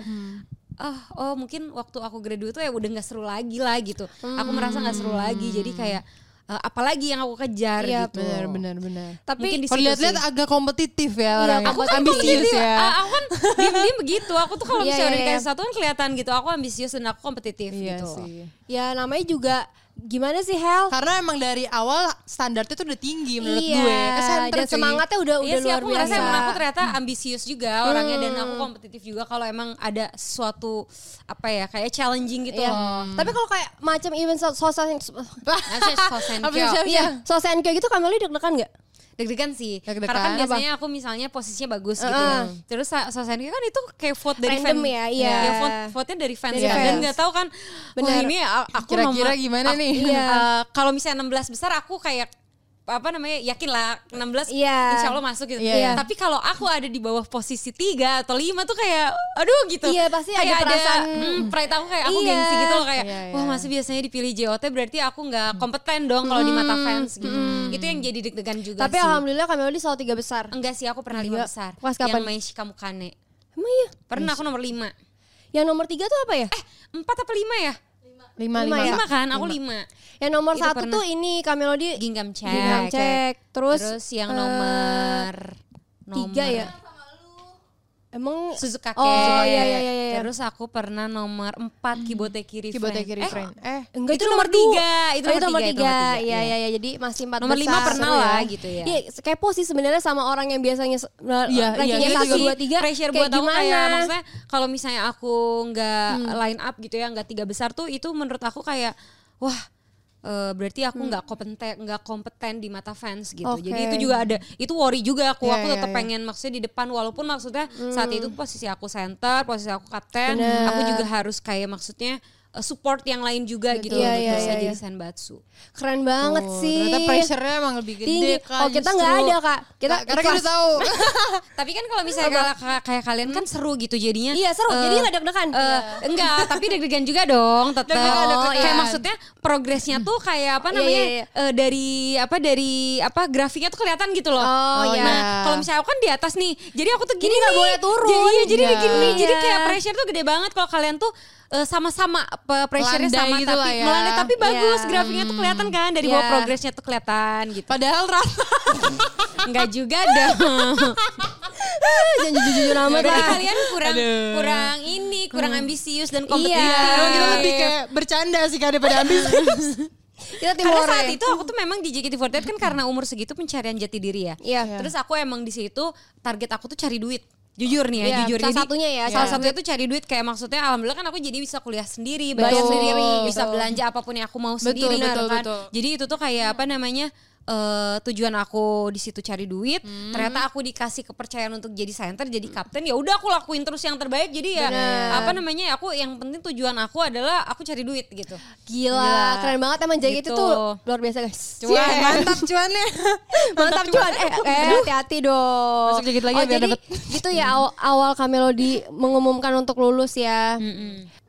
Speaker 5: Oh, oh mungkin waktu aku graduate tuh ya udah nggak seru lagi lah gitu. Aku merasa nggak seru lagi. Jadi kayak eh, apalagi yang aku kejar
Speaker 4: Iya,
Speaker 5: gitu.
Speaker 3: Benar, benar, benar.
Speaker 5: Tapi
Speaker 4: Mungkin
Speaker 3: Kalau dilihat-lihat agak kompetitif ya orangnya.
Speaker 5: aku kan
Speaker 3: ambisius
Speaker 5: kompetitif.
Speaker 3: ya.
Speaker 5: Ah, aku kan diem-diem begitu. Aku tuh kalau
Speaker 4: Iya,
Speaker 5: misalnya
Speaker 4: iya,
Speaker 5: udah dikasih
Speaker 4: iya.
Speaker 5: satu kan kelihatan gitu. Aku ambisius dan aku kompetitif
Speaker 3: Iya
Speaker 5: gitu.
Speaker 3: sih.
Speaker 4: Ya namanya juga gimana sih Hel?
Speaker 3: Karena emang dari awal standarnya tuh udah tinggi menurut
Speaker 4: iya,
Speaker 3: gue.
Speaker 5: Eh,
Speaker 3: Ke center,
Speaker 4: dan
Speaker 3: cuy.
Speaker 4: semangatnya udah
Speaker 5: Iya
Speaker 4: udah
Speaker 5: sih
Speaker 4: luar
Speaker 5: aku
Speaker 4: biasa. Hmm.
Speaker 5: ngerasa emang aku ternyata ambisius juga orangnya dan aku kompetitif juga kalau emang ada suatu apa ya kayak challenging gitu
Speaker 4: Iya.
Speaker 5: loh.
Speaker 4: Tapi kalau kayak macam event so- sosial yang
Speaker 5: Nanti sosenkyo.
Speaker 4: iya, sosial yang kayak gitu kamu deg-degan nggak?
Speaker 5: Deg-degan sih.
Speaker 3: Deg-degan
Speaker 5: Karena kan
Speaker 3: apa?
Speaker 5: biasanya aku misalnya posisinya bagus gitu ya. Terus sa- sosenkyo kan itu kayak vote dari
Speaker 4: Random
Speaker 5: fan.
Speaker 4: ya, iya.
Speaker 5: Ya, vote, vote-nya dari fans
Speaker 4: Dari
Speaker 5: kan. Dan
Speaker 4: fans.
Speaker 5: nggak tahu kan Bener.
Speaker 4: Benar.
Speaker 5: ini a- aku
Speaker 3: Kira-kira
Speaker 5: nomor-
Speaker 3: gimana
Speaker 5: aku-
Speaker 3: nih?
Speaker 5: Iya. Eh, kalau misalnya 16 besar aku kayak apa namanya yakin lah 16
Speaker 4: Iya.
Speaker 5: insya Allah masuk gitu
Speaker 3: Iya.
Speaker 5: tapi kalau aku ada di bawah posisi 3 atau 5 tuh kayak aduh gitu
Speaker 4: Iya, pasti ada
Speaker 5: kayak
Speaker 4: perasaan-
Speaker 5: hmm, pride aku kayak aku
Speaker 4: Iya.
Speaker 5: gengsi gitu loh kayak
Speaker 3: Iya, iya.
Speaker 5: wah masa biasanya dipilih JOT berarti aku nggak
Speaker 4: Hmm.
Speaker 5: kompeten dong kalau di mata fans gitu itu yang jadi deg-degan juga
Speaker 4: Tapi
Speaker 5: sih
Speaker 4: alhamdulillah kamu selalu tiga besar.
Speaker 5: enggak sih aku pernah
Speaker 4: Iya.
Speaker 5: lima besar
Speaker 4: Pas kapan?
Speaker 5: yang Meishi Kamukane
Speaker 4: Emang iya.
Speaker 5: pernah aku nomor 5
Speaker 4: Yang nomor tiga tuh apa ya?
Speaker 5: eh 4 apa 5 ya
Speaker 3: lima,
Speaker 4: Lima
Speaker 3: lima,
Speaker 4: ya?
Speaker 5: lima kan aku 5
Speaker 4: yang nomor
Speaker 5: itu
Speaker 4: satu
Speaker 5: pernah.
Speaker 4: tuh ini Kamelody
Speaker 5: gingham check.
Speaker 4: Gingham check. Terus,
Speaker 5: Terus
Speaker 4: eh,
Speaker 5: yang nomor
Speaker 4: tiga
Speaker 5: nomor-
Speaker 4: ya. Emang
Speaker 5: Suzuka
Speaker 4: Oh
Speaker 5: Cake.
Speaker 4: iya iya iya. iya. Hmm.
Speaker 5: Terus aku pernah nomor 4 Kiboteki Refrain.
Speaker 3: Kiboteki Refrain. Eh,
Speaker 4: Enggak
Speaker 5: Itu nomor tiga, itu
Speaker 4: Oh,
Speaker 5: nomor tiga, itu
Speaker 4: tiga.
Speaker 5: nomor tiga,
Speaker 4: Iya
Speaker 5: iya.
Speaker 4: iya iya. Jadi masih empat
Speaker 5: Nomor lima
Speaker 4: besar.
Speaker 5: pernah
Speaker 4: Seru
Speaker 5: lah gitu ya.
Speaker 4: Iya, kepo sih sebenarnya sama orang yang biasanya se-
Speaker 3: iya,
Speaker 4: rankingnya
Speaker 3: itu
Speaker 4: satu
Speaker 3: juga
Speaker 4: dua tiga
Speaker 5: pressure
Speaker 4: kayak
Speaker 5: buat aku
Speaker 4: gimana? Hmm.
Speaker 5: kayak maksudnya kalau misalnya aku nggak line up gitu ya nggak tiga besar tuh itu menurut aku kayak wah eh, berarti aku nggak kompeten nggak kompeten di mata fans gitu jadi
Speaker 4: Hmm. Oke.
Speaker 5: itu juga ada itu worry juga aku
Speaker 3: Iya,
Speaker 5: aku
Speaker 3: iya,
Speaker 5: tetap
Speaker 3: iya.
Speaker 5: pengen maksudnya di depan walaupun maksudnya saat
Speaker 4: Hmm.
Speaker 5: itu posisi aku center posisi aku kapten
Speaker 4: Bener.
Speaker 5: aku juga harus kayak maksudnya eh, support yang lain juga gitu
Speaker 4: Iya,
Speaker 5: untuk
Speaker 4: iya,
Speaker 5: bisa
Speaker 4: iya,
Speaker 5: jadi
Speaker 4: iya.
Speaker 5: senbatsu
Speaker 4: Keren banget
Speaker 3: Oh,
Speaker 4: sih.
Speaker 3: Ternyata pressure-nya emang lebih gede
Speaker 4: tinggi.
Speaker 3: kan. Nah,
Speaker 4: oh kita nggak ada kak. Kita
Speaker 3: karena kita
Speaker 4: ikhlas.
Speaker 3: udah tahu.
Speaker 4: Ah.
Speaker 5: Tapi kan kalau misalnya kala- kayak, kalian kan seru gitu jadinya.
Speaker 4: Hmm. Iya, seru. Jadi
Speaker 5: Eh,
Speaker 4: nggak deg-degan.
Speaker 5: eh,
Speaker 4: Iya.
Speaker 5: Enggak, tapi deg-degan juga dong tetap.
Speaker 3: Deg-degan, deg-degan.
Speaker 5: Kayak maksudnya progresnya tuh kayak apa
Speaker 4: Iya,
Speaker 5: namanya?
Speaker 4: iya, iya.
Speaker 5: eh, dari apa dari apa grafiknya tuh kelihatan gitu loh.
Speaker 4: Oh,
Speaker 3: iya.
Speaker 5: Nah, kalau misalnya aku kan di atas nih. Jadi aku tuh gini
Speaker 4: nggak
Speaker 5: nih.
Speaker 4: boleh turun.
Speaker 5: Jadi iya, jadi
Speaker 3: Iya.
Speaker 5: begini. Jadi
Speaker 4: Iya.
Speaker 5: kayak pressure tuh gede banget kalau kalian tuh eh, sama-sama eh, pressure-nya
Speaker 3: Landai
Speaker 5: sama
Speaker 3: gitu
Speaker 5: tapi
Speaker 3: lah ya.
Speaker 5: melandai, tapi bagus
Speaker 4: Iya.
Speaker 5: grafiknya tuh kelihatan kan dari bawah
Speaker 4: Iya.
Speaker 5: progresnya tuh kelihatan gitu.
Speaker 3: Padahal rata.
Speaker 5: Enggak juga dong.
Speaker 4: Jangan jujur-jujur amat
Speaker 5: Berarti
Speaker 4: lah.
Speaker 5: kalian kurang kurang ini, kurang ambisius dan kompetitif.
Speaker 4: Hmm. Iya.
Speaker 3: Kita lebih kayak bercanda sih kan daripada ambisius.
Speaker 4: Kita tim
Speaker 5: Karena
Speaker 4: Lore.
Speaker 5: saat itu aku tuh memang di JKT48 kan karena umur segitu pencarian jati diri ya.
Speaker 4: Iya.
Speaker 5: Terus aku emang di situ target aku tuh cari duit. Jujur nih ya,
Speaker 4: Iya,
Speaker 5: jujur.
Speaker 4: salah
Speaker 5: Jadi,
Speaker 4: satunya ya,
Speaker 5: Salah
Speaker 4: cari
Speaker 5: satunya tuh cari duit kayak maksudnya alhamdulillah kan aku jadi bisa kuliah sendiri, bayar
Speaker 4: Betul,
Speaker 5: sendiri, bisa
Speaker 4: betul.
Speaker 5: belanja apapun yang aku mau
Speaker 3: Betul,
Speaker 5: sendiri gitu
Speaker 3: betul,
Speaker 5: kan.
Speaker 3: betul.
Speaker 5: Jadi itu tuh kayak apa namanya? eh, tujuan aku di situ cari duit
Speaker 4: Hmm.
Speaker 5: ternyata aku dikasih kepercayaan untuk jadi center jadi kapten ya udah aku lakuin terus yang terbaik jadi ya apa namanya ya, aku yang penting tujuan aku adalah aku cari duit gitu
Speaker 4: Gila,
Speaker 5: Gila.
Speaker 4: keren banget emang JKT itu
Speaker 5: Gitu.
Speaker 4: tuh luar biasa guys. Iya.
Speaker 3: Cuan, mantap cuannya.
Speaker 4: Mantap cuan. Eh, eh, hati-hati dong.
Speaker 5: Masuk dikit lagi
Speaker 4: oh,
Speaker 5: biar
Speaker 4: jadi
Speaker 5: dapet.
Speaker 4: gitu ya aw- awal Kamelodi mengumumkan untuk lulus ya.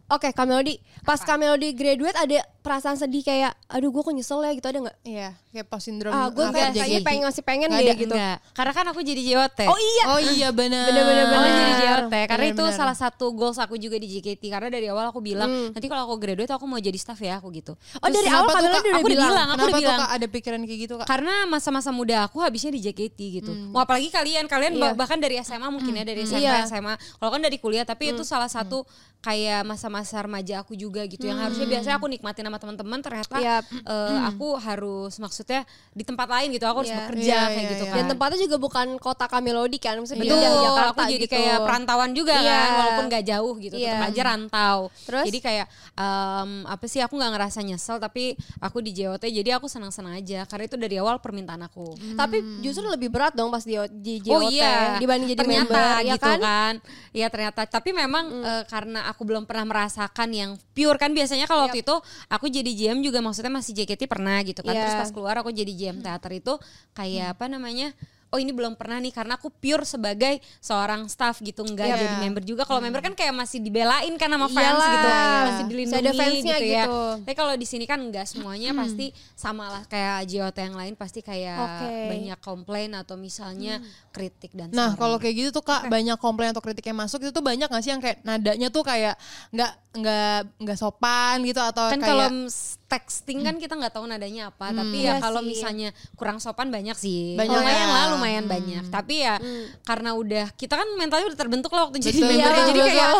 Speaker 4: Oke, Kamelodi. Pas Kamelodi graduate ada perasaan sedih kayak aduh gue kok nyesel ya gitu ada nggak?
Speaker 3: Iya, kayak post syndrome.
Speaker 4: Ah, gue
Speaker 3: after
Speaker 4: kayaknya
Speaker 3: JKT.
Speaker 4: pengen masih pengen
Speaker 5: Nggak
Speaker 4: deh
Speaker 5: ada,
Speaker 4: gitu.
Speaker 5: enggak. Karena kan aku jadi JOT.
Speaker 4: Oh iya.
Speaker 3: Iya, Oh iya benar. Iya,
Speaker 4: Bener-bener,
Speaker 5: Aku
Speaker 4: bener.
Speaker 5: jadi JOT karena itu
Speaker 3: Bener-bener.
Speaker 5: salah satu goals aku juga di JKT karena dari awal aku bilang nanti kalau aku graduate aku mau jadi staff ya aku gitu.
Speaker 4: Oh, dari awal
Speaker 3: Hmm. Kenapa tuh,
Speaker 4: Kamelodi
Speaker 3: Kak?
Speaker 4: udah
Speaker 5: Aku udah
Speaker 4: bilang.
Speaker 5: bilang, aku
Speaker 3: Kenapa
Speaker 5: udah
Speaker 3: tuh
Speaker 5: bilang.
Speaker 3: Kak ada pikiran kayak gitu Kak?
Speaker 5: Karena masa-masa muda aku habisnya di JKT gitu.
Speaker 3: Hmm.
Speaker 5: Mau apalagi kalian, kalian
Speaker 3: Iya.
Speaker 5: bah- bahkan dari SMA mungkin ya dari SMA,
Speaker 4: Iya.
Speaker 5: SMA. Kalau kan dari kuliah, tapi
Speaker 3: Hmm.
Speaker 5: itu salah satu kayak masa-masa remaja aku juga gitu. Yang harusnya
Speaker 3: Hmm.
Speaker 5: biasanya aku nikmatin sama teman-teman, ternyata
Speaker 3: Iya.
Speaker 4: Yap.
Speaker 5: eh, aku harus maksudnya di tempat lain gitu. Aku harus
Speaker 4: Iya.
Speaker 5: bekerja
Speaker 3: Iya,
Speaker 5: kayak
Speaker 3: iya,
Speaker 5: gitu
Speaker 3: iya.
Speaker 5: kan.
Speaker 4: Dan tempatnya juga bukan kota Kamelodi kan, maksudnya
Speaker 5: Betul,
Speaker 4: pindah Jakarta
Speaker 5: aku jadi
Speaker 4: gitu.
Speaker 5: kayak perantauan juga
Speaker 4: Iya.
Speaker 5: kan, walaupun gak jauh gitu, tetap
Speaker 4: Iya.
Speaker 5: aja rantau.
Speaker 4: Terus?
Speaker 5: Jadi kayak em, apa sih? Aku nggak ngerasa nyesel, tapi aku di JOT, jadi aku senang-senang aja karena itu dari awal permintaan aku.
Speaker 4: Tapi justru lebih berat dong pas di, di JOT
Speaker 5: Oh iya,
Speaker 4: dibanding jadi
Speaker 5: ternyata
Speaker 4: member, ya
Speaker 5: gitu kan? Iya ternyata. Tapi memang eh, karena aku belum pernah merasakan yang pure kan biasanya kalau waktu itu aku jadi GM juga maksudnya masih JKT pernah gitu kan.
Speaker 4: Iya.
Speaker 5: Terus pas keluar aku jadi GM teater itu kayak apa namanya? Oh ini belum pernah nih karena aku pure sebagai seorang staff gitu nggak
Speaker 3: Iya.
Speaker 5: jadi member juga. Kalau member kan kayak masih dibelain kan sama fans
Speaker 4: Iyalah,
Speaker 5: gitu,
Speaker 4: iya.
Speaker 5: masih dilindungi
Speaker 4: Masih ada fansnya
Speaker 5: gitu ya.
Speaker 4: gitu.
Speaker 5: Tapi kalau di sini kan nggak semuanya pasti sama lah kayak JOT yang lain pasti kayak
Speaker 4: Oke.
Speaker 5: banyak komplain atau misalnya
Speaker 4: Hmm.
Speaker 5: kritik dan
Speaker 3: Nah,
Speaker 5: saran.
Speaker 3: kalau kayak gitu tuh Kak, banyak komplain atau kritik yang masuk itu tuh banyak gak sih yang kayak nadanya tuh kayak nggak nggak nggak sopan gitu atau
Speaker 5: kan
Speaker 3: kayak Hmm.
Speaker 5: kalau s- texting kan kita nggak tahu nadanya apa tapi
Speaker 4: Iya
Speaker 5: ya kalau
Speaker 4: sih. Ah.
Speaker 5: misalnya kurang sopan banyak sih
Speaker 3: Banyak ya.
Speaker 5: lumayan lah lumayan banyak tapi ya
Speaker 4: Hmm.
Speaker 5: karena udah kita kan mentalnya udah terbentuk lah waktu jadi
Speaker 3: Betul.
Speaker 5: member
Speaker 3: Iya,
Speaker 5: jadi
Speaker 3: betul.
Speaker 5: kayak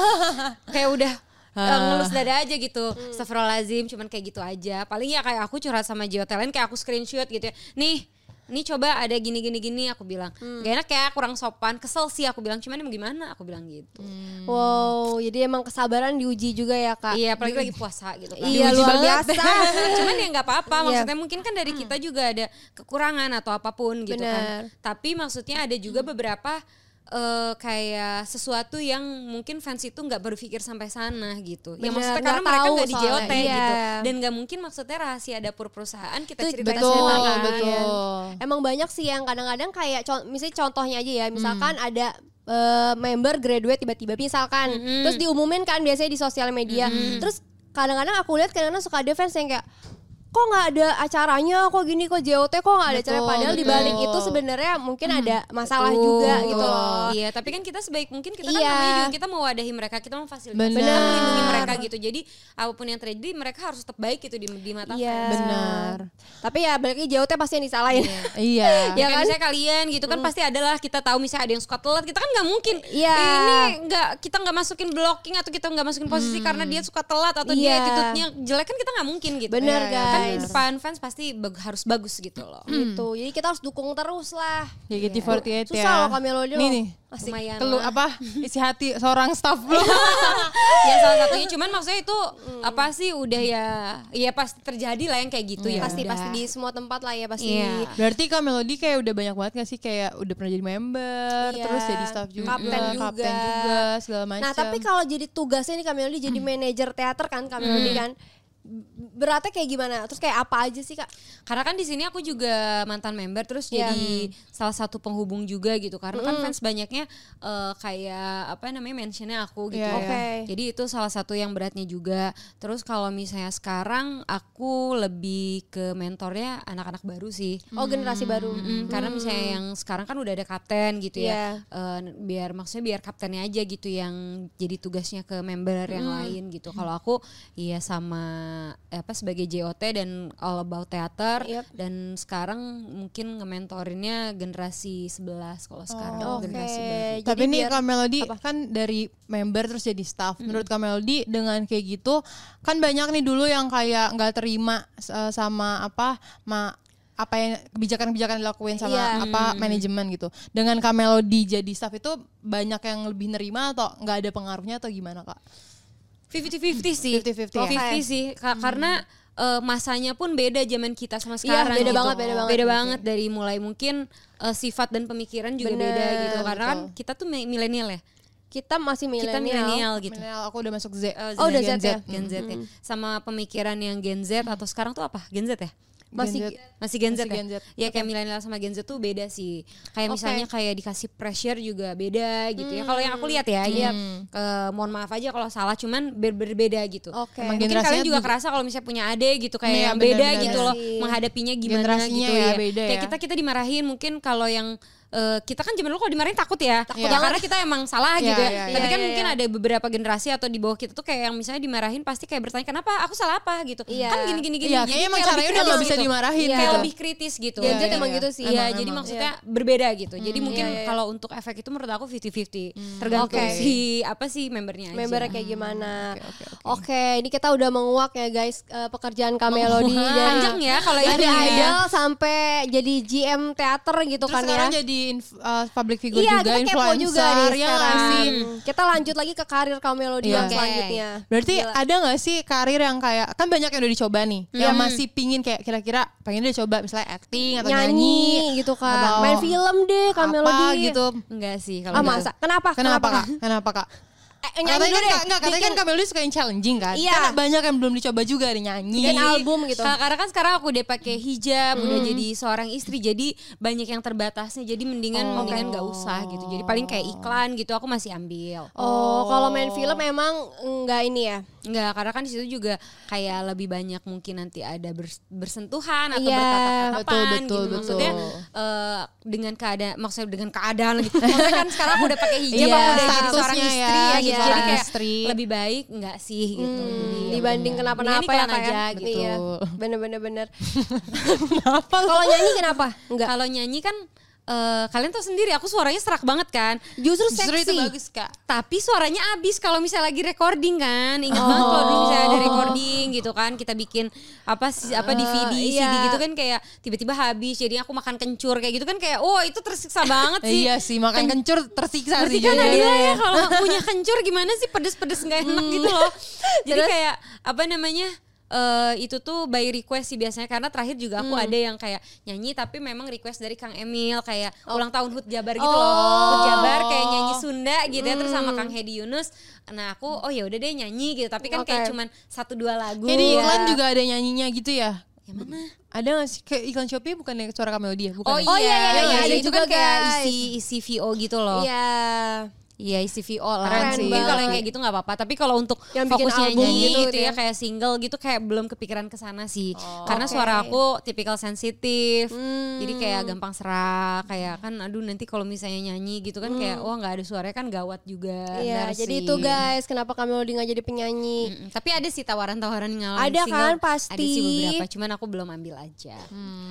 Speaker 5: kayak udah
Speaker 4: Ah.
Speaker 5: eh, ngelus dada aja gitu
Speaker 4: Hmm.
Speaker 5: Astagfirullahaladzim cuman kayak gitu aja paling ya kayak aku curhat sama Jio Talent kayak aku screenshot gitu ya nih nih coba ada gini gini gini aku bilang
Speaker 4: Hmm.
Speaker 5: gak enak ya kurang sopan kesel sih aku bilang cuman emang gimana aku bilang
Speaker 3: Hmm.
Speaker 5: gitu
Speaker 4: Wow, jadi emang kesabaran diuji juga ya kak.
Speaker 5: Iya, apalagi lagi puasa gitu kan.
Speaker 4: Iya, luar biasa.
Speaker 5: Cuman ya nggak apa-apa,
Speaker 4: Iya.
Speaker 5: maksudnya mungkin kan dari kita juga ada kekurangan atau apapun gitu
Speaker 4: Benar.
Speaker 5: kan. Tapi maksudnya ada juga beberapa eh, kayak sesuatu yang mungkin fans itu nggak berpikir sampai sana gitu. ya
Speaker 4: Benar,
Speaker 5: maksudnya
Speaker 4: nggak
Speaker 5: karena mereka
Speaker 4: tahu
Speaker 5: nggak di
Speaker 4: soalnya.
Speaker 5: JOT gitu.
Speaker 4: Iya.
Speaker 5: Dan nggak mungkin maksudnya rahasia dapur perusahaan kita
Speaker 4: Itu
Speaker 5: cerita
Speaker 3: betul
Speaker 5: cerita
Speaker 3: betul.
Speaker 4: Emang banyak sih yang kadang-kadang kayak con- misalnya contohnya aja
Speaker 3: Hmm.
Speaker 4: ya, misalkan ada eh, member graduate tiba-tiba misalkan,
Speaker 3: Hmm.
Speaker 4: terus diumumin kan biasanya di sosial media. Terus kadang-kadang aku lihat kadang-kadang suka ada fans yang kayak kok nggak ada acaranya, kok gini, kok JOT, kok nggak ada acara.
Speaker 3: Betul,
Speaker 4: Padahal di
Speaker 3: betul. Hmm.
Speaker 4: balik itu sebenarnya mungkin ada masalah juga gitu loh.
Speaker 5: Iya, tapi kan kita sebaik mungkin kita
Speaker 4: Iya.
Speaker 5: kan namanya juga kita mewadahi mereka, kita memfasilitasi,
Speaker 3: Benar.
Speaker 5: kita melindungi mereka gitu. Jadi apapun yang terjadi mereka harus tetap baik gitu di, di mata
Speaker 4: Iya.
Speaker 5: fans.
Speaker 3: Benar.
Speaker 4: Tapi ya baliknya JOT pasti yang disalahin.
Speaker 3: Iya.
Speaker 5: Ya kan? misalnya kalian gitu kan pasti adalah kita tahu misalnya ada yang suka telat kita kan nggak mungkin
Speaker 4: Mm. Iya.
Speaker 5: "Eh, ini nggak kita nggak masukin blocking atau kita nggak masukin posisi karena dia suka telat atau
Speaker 4: Hmm. Iya.
Speaker 5: dia attitude-nya jelek kan kita nggak mungkin gitu
Speaker 4: Bener,
Speaker 5: Iya, kan
Speaker 4: guys.
Speaker 5: depan fans pasti bag- harus bagus gitu loh
Speaker 4: gitu. Jadi kita harus dukung terus lah.
Speaker 3: JKT48 Hmm. ya.
Speaker 4: Susah loh Kamelodi
Speaker 3: Nih
Speaker 4: loh. Iya,
Speaker 3: nih.
Speaker 4: Asik.
Speaker 5: lumayan
Speaker 3: Keluh
Speaker 5: lah.
Speaker 3: apa? Isi hati seorang staff lo.
Speaker 4: Iya.
Speaker 5: ya salah satunya cuman maksudnya itu apa sih udah ya ya pasti terjadi lah yang kayak gitu
Speaker 3: Iya.
Speaker 5: ya
Speaker 4: Hmm, pasti
Speaker 5: udah.
Speaker 4: pasti di semua tempat lah ya pasti
Speaker 5: Iya.
Speaker 3: Berarti Kak Melody kayak udah banyak banget gak sih kayak udah pernah jadi member,
Speaker 4: Iya.
Speaker 3: terus jadi staff juga,
Speaker 4: Kapten juga.
Speaker 3: kapten juga, segala macam.
Speaker 4: nah tapi kalau jadi tugasnya nih Kamelodi jadi manajer teater kan Kamelodi kan beratnya kayak gimana terus kayak apa aja sih kak
Speaker 5: Karena kan di sini aku juga mantan member terus
Speaker 4: Iya.
Speaker 5: jadi salah satu penghubung juga gitu. Karena kan fans banyaknya eh, kayak apa namanya mentionnya aku gitu.
Speaker 3: Iya,
Speaker 5: ya.
Speaker 4: iya. Oke.
Speaker 5: Jadi itu salah satu yang beratnya juga. Terus kalau misalnya sekarang aku lebih ke mentornya anak-anak baru sih.
Speaker 4: oh generasi baru
Speaker 5: Mm, Karena misalnya yang sekarang kan udah ada kapten gitu
Speaker 4: Hmm. Iya.
Speaker 5: ya, Eh, biar maksudnya biar kaptennya aja gitu yang jadi tugasnya ke member yang lain gitu. Kalau aku, iya sama apa sebagai JOT dan all about theater
Speaker 4: Yep.
Speaker 5: dan sekarang mungkin ngementorinnya generasi 11 kalau sekarang
Speaker 4: Oh, Oke.
Speaker 5: Oh, generasi baru.
Speaker 4: Jadi
Speaker 3: Tapi nih
Speaker 4: biar-
Speaker 3: Kak Melody kan dari member terus jadi staff. Menurut Kak Melody dengan kayak gitu kan banyak nih dulu yang kayak nggak terima eh, sama apa ma apa yang kebijakan-kebijakan dilakuin sama
Speaker 4: Iya.
Speaker 3: apa manajemen gitu. Dengan Kak Melody jadi staff itu banyak yang lebih nerima atau nggak ada pengaruhnya atau gimana Kak?
Speaker 5: 50-50 sih.
Speaker 3: 50-50 ya?
Speaker 5: 50-50 sih. Ka- Karena eh, masanya pun beda zaman kita sama
Speaker 4: Hmm. Iya,
Speaker 5: sekarang.
Speaker 4: beda
Speaker 5: gitu.
Speaker 4: banget, beda banget.
Speaker 5: banget dari mulai mungkin eh, sifat dan pemikiran juga
Speaker 4: Bener,
Speaker 5: beda gitu. Karena kan
Speaker 3: betul.
Speaker 5: kita tuh mi- milenial ya.
Speaker 4: Kita masih
Speaker 5: Kita
Speaker 4: milenial.
Speaker 5: milenial gitu.
Speaker 3: Milenial, aku udah masuk Z.
Speaker 5: Eh,
Speaker 4: Oh, udah
Speaker 5: Gen
Speaker 4: Z ya?
Speaker 5: Gen Z ya. Sama pemikiran yang Gen Z atau sekarang tuh apa? Gen Z ya?
Speaker 4: Masih
Speaker 3: Gen Z.
Speaker 5: Masih Gen Z
Speaker 3: Masih
Speaker 5: ya?
Speaker 3: Gen Z.
Speaker 5: Ya kayak milenial sama Gen Z tuh beda sih. Kayak
Speaker 4: Oke.
Speaker 5: misalnya kayak dikasih pressure juga beda gitu ya. Kalau yang
Speaker 3: Mm.
Speaker 5: aku lihat ya, ya eh, mohon maaf aja kalau salah cuman ber- berbeda gitu.
Speaker 4: Oke.
Speaker 3: Emang
Speaker 5: Mungkin
Speaker 3: generasinya
Speaker 5: kalian juga
Speaker 3: juga-
Speaker 5: kerasa kalau misalnya punya adik gitu kayak
Speaker 3: Iya,
Speaker 5: yang beda
Speaker 3: benar-benar.
Speaker 5: gitu loh
Speaker 4: Iya sih.
Speaker 5: menghadapinya gimana
Speaker 3: Generasinya
Speaker 5: gitu
Speaker 3: ya,
Speaker 5: ya.
Speaker 3: beda
Speaker 5: kayak
Speaker 3: ya.
Speaker 5: kita kita dimarahin mungkin kalau yang eh, kita kan zaman dulu kalau dimarahin takut ya.
Speaker 4: Takut
Speaker 5: ya
Speaker 4: banget.
Speaker 5: karena kita emang salah
Speaker 3: Iya,
Speaker 5: gitu ya.
Speaker 3: iya,
Speaker 5: Tapi
Speaker 4: iya.
Speaker 5: kan
Speaker 4: Iya,
Speaker 5: mungkin
Speaker 4: iya.
Speaker 5: ada beberapa generasi atau di bawah kita tuh kayak yang misalnya dimarahin pasti kayak bertanya kenapa aku salah apa gitu.
Speaker 4: Iya.
Speaker 5: Kan gini gini gini.
Speaker 3: Iya,
Speaker 5: Jadi
Speaker 3: kayaknya emang
Speaker 5: kayak
Speaker 3: caranya
Speaker 5: lebih
Speaker 3: udah nggak
Speaker 5: kritis
Speaker 3: bisa
Speaker 5: gitu.
Speaker 3: dimarahin
Speaker 5: Iya,
Speaker 3: gitu.
Speaker 5: Kayak lebih kritis gitu.
Speaker 4: Gen Z
Speaker 5: Iya, iya,
Speaker 4: emang
Speaker 5: iya.
Speaker 4: gitu sih.
Speaker 5: Iya,
Speaker 3: Emang,
Speaker 5: jadi
Speaker 3: emang.
Speaker 5: maksudnya berbeda gitu. Jadi mungkin
Speaker 4: Iya, iya.
Speaker 5: kalau untuk efek itu menurut aku 50-50. Tergantung
Speaker 4: Oke.
Speaker 5: si apa sih membernya aja.
Speaker 4: Membernya kayak gimana? Oke, ini kita udah menguak ya guys eh, pekerjaan Kamelodi
Speaker 5: Panjang ya kalau
Speaker 4: dari
Speaker 5: ini ya.
Speaker 4: idol sampai jadi GM teater gitu
Speaker 3: Terus
Speaker 4: kan ya.
Speaker 3: sekarang jadi inf- eh, public figure
Speaker 4: iya,
Speaker 3: juga,
Speaker 4: kita kepo
Speaker 3: influencer
Speaker 4: juga nih
Speaker 3: ya nggak
Speaker 4: sekarang.
Speaker 3: sih?
Speaker 4: Kita lanjut lagi ke karir Kamelodi
Speaker 3: Iya.
Speaker 4: yang
Speaker 3: Oke.
Speaker 4: selanjutnya.
Speaker 3: Berarti
Speaker 4: Gila. Hmm.
Speaker 3: ada nggak sih karir yang kayak kan banyak yang udah dicoba nih, yang masih pingin kayak kira-kira pengen udah coba misalnya acting atau
Speaker 4: nyanyi,
Speaker 3: nyanyi,
Speaker 4: gitu
Speaker 3: atau
Speaker 4: kan. Main film deh Kamelodi.
Speaker 3: apa gitu.
Speaker 5: Enggak sih kalau
Speaker 4: Ah
Speaker 5: gitu.
Speaker 4: masa? Kenapa?
Speaker 3: Kenapa kak? Kenapa kak?
Speaker 4: Eh, nyanyi dulu
Speaker 3: katanya kan,
Speaker 4: deh.
Speaker 3: Kak- nggak, katanya kan
Speaker 4: Bikin-
Speaker 3: Kak Melody suka yang challenging kan?
Speaker 4: Iya.
Speaker 3: Karena banyak yang belum dicoba juga nih nyanyi.
Speaker 4: Bikin album gitu. Hmm.
Speaker 5: Ka- Karena kan sekarang aku udah pakai hijab, udah jadi seorang istri, jadi banyak yang terbatasnya. Jadi mendingan
Speaker 4: Oh,
Speaker 5: mendingan nggak usah gitu. Jadi paling kayak iklan gitu aku masih ambil.
Speaker 4: Oh, kalau main film emang enggak ini ya.
Speaker 5: Enggak, karena kan di situ juga kayak lebih banyak mungkin nanti ada bers- bersentuhan atau
Speaker 4: Iya,
Speaker 5: bertatap-tatapan
Speaker 3: betul, betul,
Speaker 5: gitu.
Speaker 3: betul.
Speaker 5: Maksudnya eh, dengan keadaan maksudnya dengan keadaan lagi. Maksudnya kan sekarang aku udah pakai hijab,
Speaker 3: Iya,
Speaker 5: aku udah jadi
Speaker 3: statusnya
Speaker 5: seorang
Speaker 3: ya,
Speaker 5: istri ya,
Speaker 3: jadi
Speaker 5: gitu. Jadi
Speaker 3: seorang
Speaker 5: kayak
Speaker 3: istri.
Speaker 5: lebih baik enggak sih
Speaker 3: Hmm,
Speaker 5: gitu. Jadi,
Speaker 3: iya
Speaker 5: ya
Speaker 4: Dibanding
Speaker 5: bener.
Speaker 4: kenapa-napa ya
Speaker 5: Mendingan
Speaker 4: kayak
Speaker 5: iklan aja gitu.
Speaker 4: Iya.
Speaker 3: Betul.
Speaker 4: Bener-bener bener. Kalau nyanyi kenapa?
Speaker 3: Mm,
Speaker 4: Enggak.
Speaker 5: Kalau nyanyi kan eh, kalian tahu sendiri aku suaranya serak banget kan. Justru seksi.
Speaker 3: Justru itu bagus kak.
Speaker 5: Tapi suaranya abis kalau misalnya lagi recording kan. Ingat banget kalau dulu misalnya ada recording gitu kan, kita bikin apa sih apa DVD,
Speaker 4: iya.
Speaker 5: CD gitu kan kayak tiba-tiba habis. Jadi aku makan kencur kayak gitu kan kayak oh itu tersiksa banget sih.
Speaker 3: Iya sih, makan kencur tersiksa sih.
Speaker 5: Berarti
Speaker 4: Iya,
Speaker 3: Iya.
Speaker 5: kan
Speaker 3: jadinya.
Speaker 5: Nadila ya kalau nggak punya kencur gimana sih pedes-pedes nggak enak
Speaker 4: Hmm.
Speaker 5: gitu loh. Jadi kayak apa namanya eh, itu tuh by request sih biasanya karena terakhir juga
Speaker 4: Hmm.
Speaker 5: aku ada yang kayak nyanyi tapi memang request dari Kang Emil kayak
Speaker 4: Oh.
Speaker 5: ulang tahun Hut Jabar gitu loh. Hut Jabar kayak nyanyi Sunda gitu ya terus
Speaker 4: Hmm.
Speaker 5: sama Kang Hedi Yunus. Nah aku oh ya udah deh nyanyi gitu tapi kan kayak
Speaker 4: Oke.
Speaker 5: cuman satu dua lagu.
Speaker 3: Kayak di iklan
Speaker 5: Ya.
Speaker 3: juga ada nyanyinya gitu ya.
Speaker 5: Ya mana?
Speaker 3: Ada gak sih kayak iklan Shopee bukan yang suara Kak Melody ya? Bukan.
Speaker 5: Oh,
Speaker 3: ya?
Speaker 5: iya,
Speaker 4: iya, iya,
Speaker 5: iya,
Speaker 4: iya, ada
Speaker 5: itu
Speaker 4: juga,
Speaker 5: kan kayak
Speaker 4: guys.
Speaker 5: isi isi VO gitu
Speaker 3: oh.
Speaker 5: loh.
Speaker 4: Iya.
Speaker 5: Iya isi VO lah.
Speaker 3: Keren sih.
Speaker 5: Mungkin kalau yang kayak gitu nggak apa-apa. Tapi kalau untuk
Speaker 4: Yang bikin
Speaker 5: fokusnya
Speaker 4: album
Speaker 5: nyanyi
Speaker 4: gitu
Speaker 5: gitu,
Speaker 4: gitu
Speaker 5: ya
Speaker 4: ya. Oh,
Speaker 5: kayak single gitu kayak belum kepikiran ke sana sih. Karena suara aku tipikal sensitif.
Speaker 4: Hmm.
Speaker 5: Jadi kayak gampang serak. Kayak kan aduh nanti kalau misalnya nyanyi gitu kan kayak wah nggak ada suaranya kan gawat juga.
Speaker 4: Hmm. Iya,
Speaker 5: Benar
Speaker 4: jadi
Speaker 5: sih.
Speaker 4: itu guys, kenapa Kamelodi nggak jadi penyanyi?
Speaker 3: Hmm,
Speaker 5: Mm-mm. Tapi ada sih tawaran-tawaran ngalamin
Speaker 4: Ada
Speaker 5: single.
Speaker 4: kan, pasti. Hmm.
Speaker 5: Ada sih beberapa, cuman aku belum ambil aja.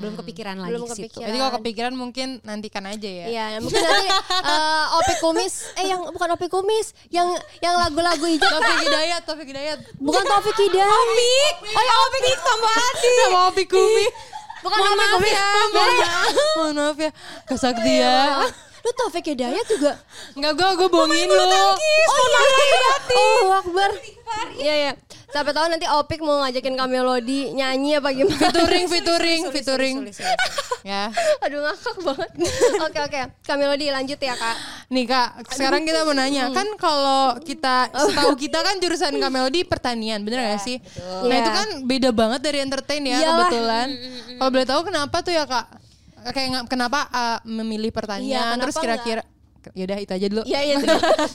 Speaker 5: Belum kepikiran lagi
Speaker 4: Belum
Speaker 5: ke situ.
Speaker 4: kepikiran.
Speaker 3: Jadi kalau kepikiran mungkin nantikan aja ya.
Speaker 4: Iya, nah, mungkin nanti eh, Opi Kumis, eh yang bukan Opi Kumis, yang yang lagu-lagu hijau.
Speaker 3: Taufik Hidayat, Taufik Hidayat.
Speaker 4: bukan Taufik Hidayat. Opi.
Speaker 5: Oh ya Opik nih tombol hati.
Speaker 3: Sama Opi Kumi.
Speaker 4: Bukan
Speaker 5: Mohon
Speaker 4: Opi
Speaker 5: maaf
Speaker 4: Kumis.
Speaker 5: ya,
Speaker 4: Bukan.
Speaker 3: Mohon maaf ya, Kak Sakti ya.
Speaker 4: Lu Taufik Hidayat juga.
Speaker 3: Enggak gue, gue bohongin lu.
Speaker 4: Oh iya. Oh, Akbar. Iya, iya. Siapa tahu nanti Opik mau ngajakin Kamelodi nyanyi apa gimana.
Speaker 3: Featuring, featuring, featuring. Ya.
Speaker 4: Aduh ngakak banget. Oke, oke. Kamelodi lanjut ya, Kak.
Speaker 3: Nih kak, sekarang kita mau nanya kan kalau kita setahu kita kan jurusan Kak Melody pertanian, bener gak sih? Nah
Speaker 4: Iya.
Speaker 3: itu kan beda banget dari entertain ya
Speaker 4: Iyalah.
Speaker 3: kebetulan. Kalau boleh tahu kenapa tuh ya kak? Kayak nggak- kenapa uh, memilih pertanian?
Speaker 4: Iya, kenapa
Speaker 3: Terus kira-kira kenapa, gitu. Yaudah itu aja dulu.
Speaker 4: Iya, iya.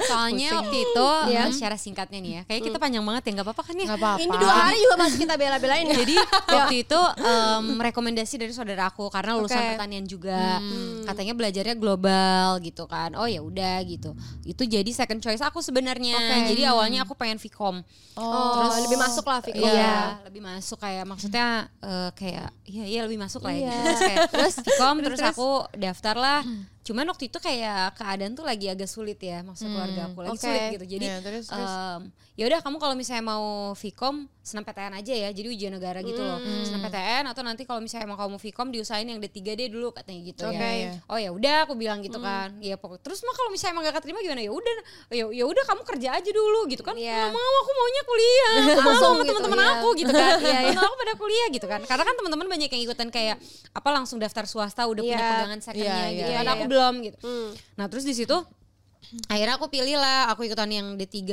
Speaker 5: Soalnya waktu itu
Speaker 4: Iya.
Speaker 5: hmm, secara singkatnya nih ya, kayak kita panjang banget ya nggak apa-apa kan ya?
Speaker 3: Nggak apa-apa.
Speaker 4: Ini dua hari juga masih kita bela-belain ya.
Speaker 5: Jadi waktu itu em, rekomendasi dari saudara aku karena lulusan
Speaker 4: Oke.
Speaker 5: pertanian juga, katanya belajarnya global gitu kan. Oh ya udah gitu. Itu jadi second choice aku sebenarnya. Jadi awalnya aku pengen Vcom.
Speaker 4: Oh, lebih masuk lah Viko.
Speaker 5: Iya, lebih masuk kayak maksudnya eh, kayak iya iya lebih masuk lah ya.
Speaker 4: Iya.
Speaker 5: gitu. Terus kayak terus Vkom terus, aku daftar lah. Cuman waktu itu kayak keadaan tuh lagi agak sulit ya, maksud keluarga aku lagi
Speaker 4: oke.
Speaker 5: sulit gitu. Jadi
Speaker 3: Iya, terus, terus.
Speaker 5: em, ya udah kamu kalau misalnya mau Vkom senam-PTN aja ya. Jadi ujian negara gitu loh. Senam-PTN atau nanti kalau misalnya mau kamu Vkom diusahain yang D3 deh dulu katanya gitu
Speaker 3: Oke.
Speaker 5: ya.
Speaker 4: Iya.
Speaker 5: Oh ya udah aku bilang gitu kan. Ya pokok terus mah kalau misalnya emang gak keterima gimana ya udah ya ya udah kamu kerja aja dulu gitu kan.
Speaker 4: Iya.
Speaker 5: Nggak mau aku maunya kuliah. Aku
Speaker 4: Langsung
Speaker 5: sama
Speaker 4: gitu,
Speaker 5: teman-teman
Speaker 4: iya.
Speaker 5: aku gitu kan. Teman-teman aku pada kuliah gitu kan. Karena kan teman-teman banyak yang ikutan kayak apa langsung daftar swasta udah punya
Speaker 4: Iya.
Speaker 5: pegangan secondnya
Speaker 3: Iya,
Speaker 5: gitu.
Speaker 4: iya,
Speaker 5: kan
Speaker 4: iya.
Speaker 5: aku belum gitu.
Speaker 4: Hmm.
Speaker 5: Nah, terus di situ akhirnya aku pilih lah aku ikutan yang D3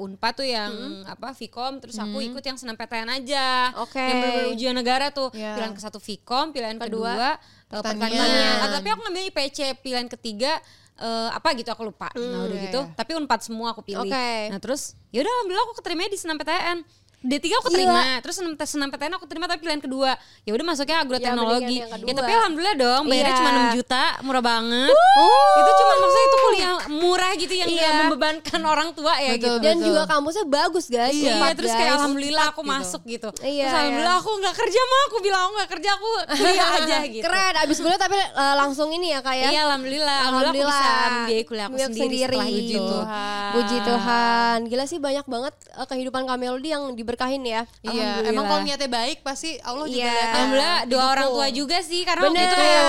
Speaker 5: Unpad tuh yang apa Vkom terus aku ikut yang senam PTN aja
Speaker 4: Hmm. Oke. Ya.
Speaker 5: yang bener-bener ujian negara tuh
Speaker 3: Iya.
Speaker 5: pilihan ke satu Vkom pilihan kedua,
Speaker 4: Kedua,
Speaker 5: eh, pertanian,
Speaker 3: pertanian.
Speaker 5: Ah, tapi aku ngambil IPC pilihan ketiga eh, apa gitu aku lupa nah udah
Speaker 3: iya,
Speaker 5: gitu
Speaker 3: iya.
Speaker 5: tapi Unpad semua aku pilih
Speaker 4: Hmm, ya, Oke.
Speaker 5: nah terus yaudah alhamdulillah aku keterima di senam PTN D3 aku terima, terus senam, senam PTN aku terima tapi pilihan kedua. Ya udah masuknya agroteknologi.
Speaker 4: mendingan yang
Speaker 5: Ya,
Speaker 4: kedua.
Speaker 5: tapi alhamdulillah dong, bayarnya
Speaker 4: Iya.
Speaker 5: cuma 6 juta, murah banget. oh, Itu cuma maksudnya itu kuliah murah gitu yang nggak
Speaker 4: Oh. Iya.
Speaker 5: membebankan orang tua ya
Speaker 3: Betul.
Speaker 5: gitu.
Speaker 4: Dan juga kampusnya bagus guys.
Speaker 5: Iya,
Speaker 4: Unpad,
Speaker 5: terus kayak
Speaker 4: guys.
Speaker 5: alhamdulillah aku masuk gitu.
Speaker 4: Iya,
Speaker 5: terus
Speaker 4: iya.
Speaker 5: alhamdulillah aku nggak kerja mah aku bilang aku nggak kerja aku kuliah aja gitu.
Speaker 4: Keren, abis kuliah tapi eh, langsung ini ya kayak
Speaker 5: Iya, alhamdulillah.
Speaker 4: Alhamdulillah, gitu.
Speaker 5: Alhamdulillah aku bisa membiayai kuliah aku
Speaker 4: Biar
Speaker 5: sendiri, setelah itu. gitu. Tuhan.
Speaker 4: Puji Tuhan. Gila sih banyak banget eh, kehidupan Kamelody yang diberkahin ya.
Speaker 3: Iya, emang kalau niatnya baik pasti Allah juga
Speaker 4: Iya.
Speaker 3: lihat.
Speaker 5: Alhamdulillah doa
Speaker 3: Didukung.
Speaker 5: orang tua juga sih karena waktu
Speaker 4: Bener.
Speaker 5: itu kayak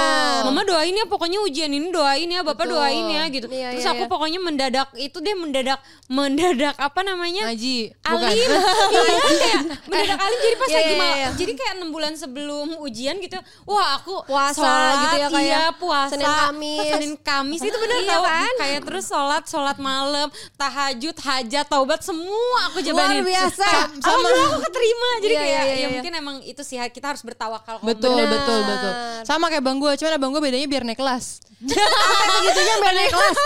Speaker 5: mama doain ya pokoknya ujian ini doain ya bapak
Speaker 3: Betul.
Speaker 5: doain ya gitu.
Speaker 4: Iya,
Speaker 5: Terus
Speaker 4: iya,
Speaker 5: aku
Speaker 4: iya.
Speaker 5: pokoknya mendadak itu dia mendadak mendadak apa
Speaker 4: Iya.
Speaker 5: namanya?
Speaker 3: Ngaji. Bukan.
Speaker 5: Alim, iya kayak mendadak alim jadi pas
Speaker 4: Iya,
Speaker 5: lagi
Speaker 4: iya,
Speaker 5: mau,
Speaker 4: iya.
Speaker 5: jadi kayak enam bulan sebelum ujian gitu, wah aku
Speaker 4: Puasa gitu ya, kayak
Speaker 5: iya, puasa, Oh,
Speaker 4: Senin, Kamis.
Speaker 5: Senin Kamis itu bener
Speaker 4: Iya
Speaker 5: tau,
Speaker 4: kan?
Speaker 5: kayak terus sholat sholat malam, tahajud, hajat, taubat semua aku jabanin.
Speaker 4: Luar biasa.
Speaker 5: Sam- sama aku keterima, jadi
Speaker 4: Iya, iya,
Speaker 5: kayak
Speaker 4: iya, iya.
Speaker 5: ya mungkin emang itu sih kita harus bertawakal. kalau
Speaker 3: Betul,
Speaker 5: bener.
Speaker 3: betul, betul. Sama kayak bang gue, cuman abang gue bedanya biar naik kelas.
Speaker 4: Sampai segitunya biar naik kelas.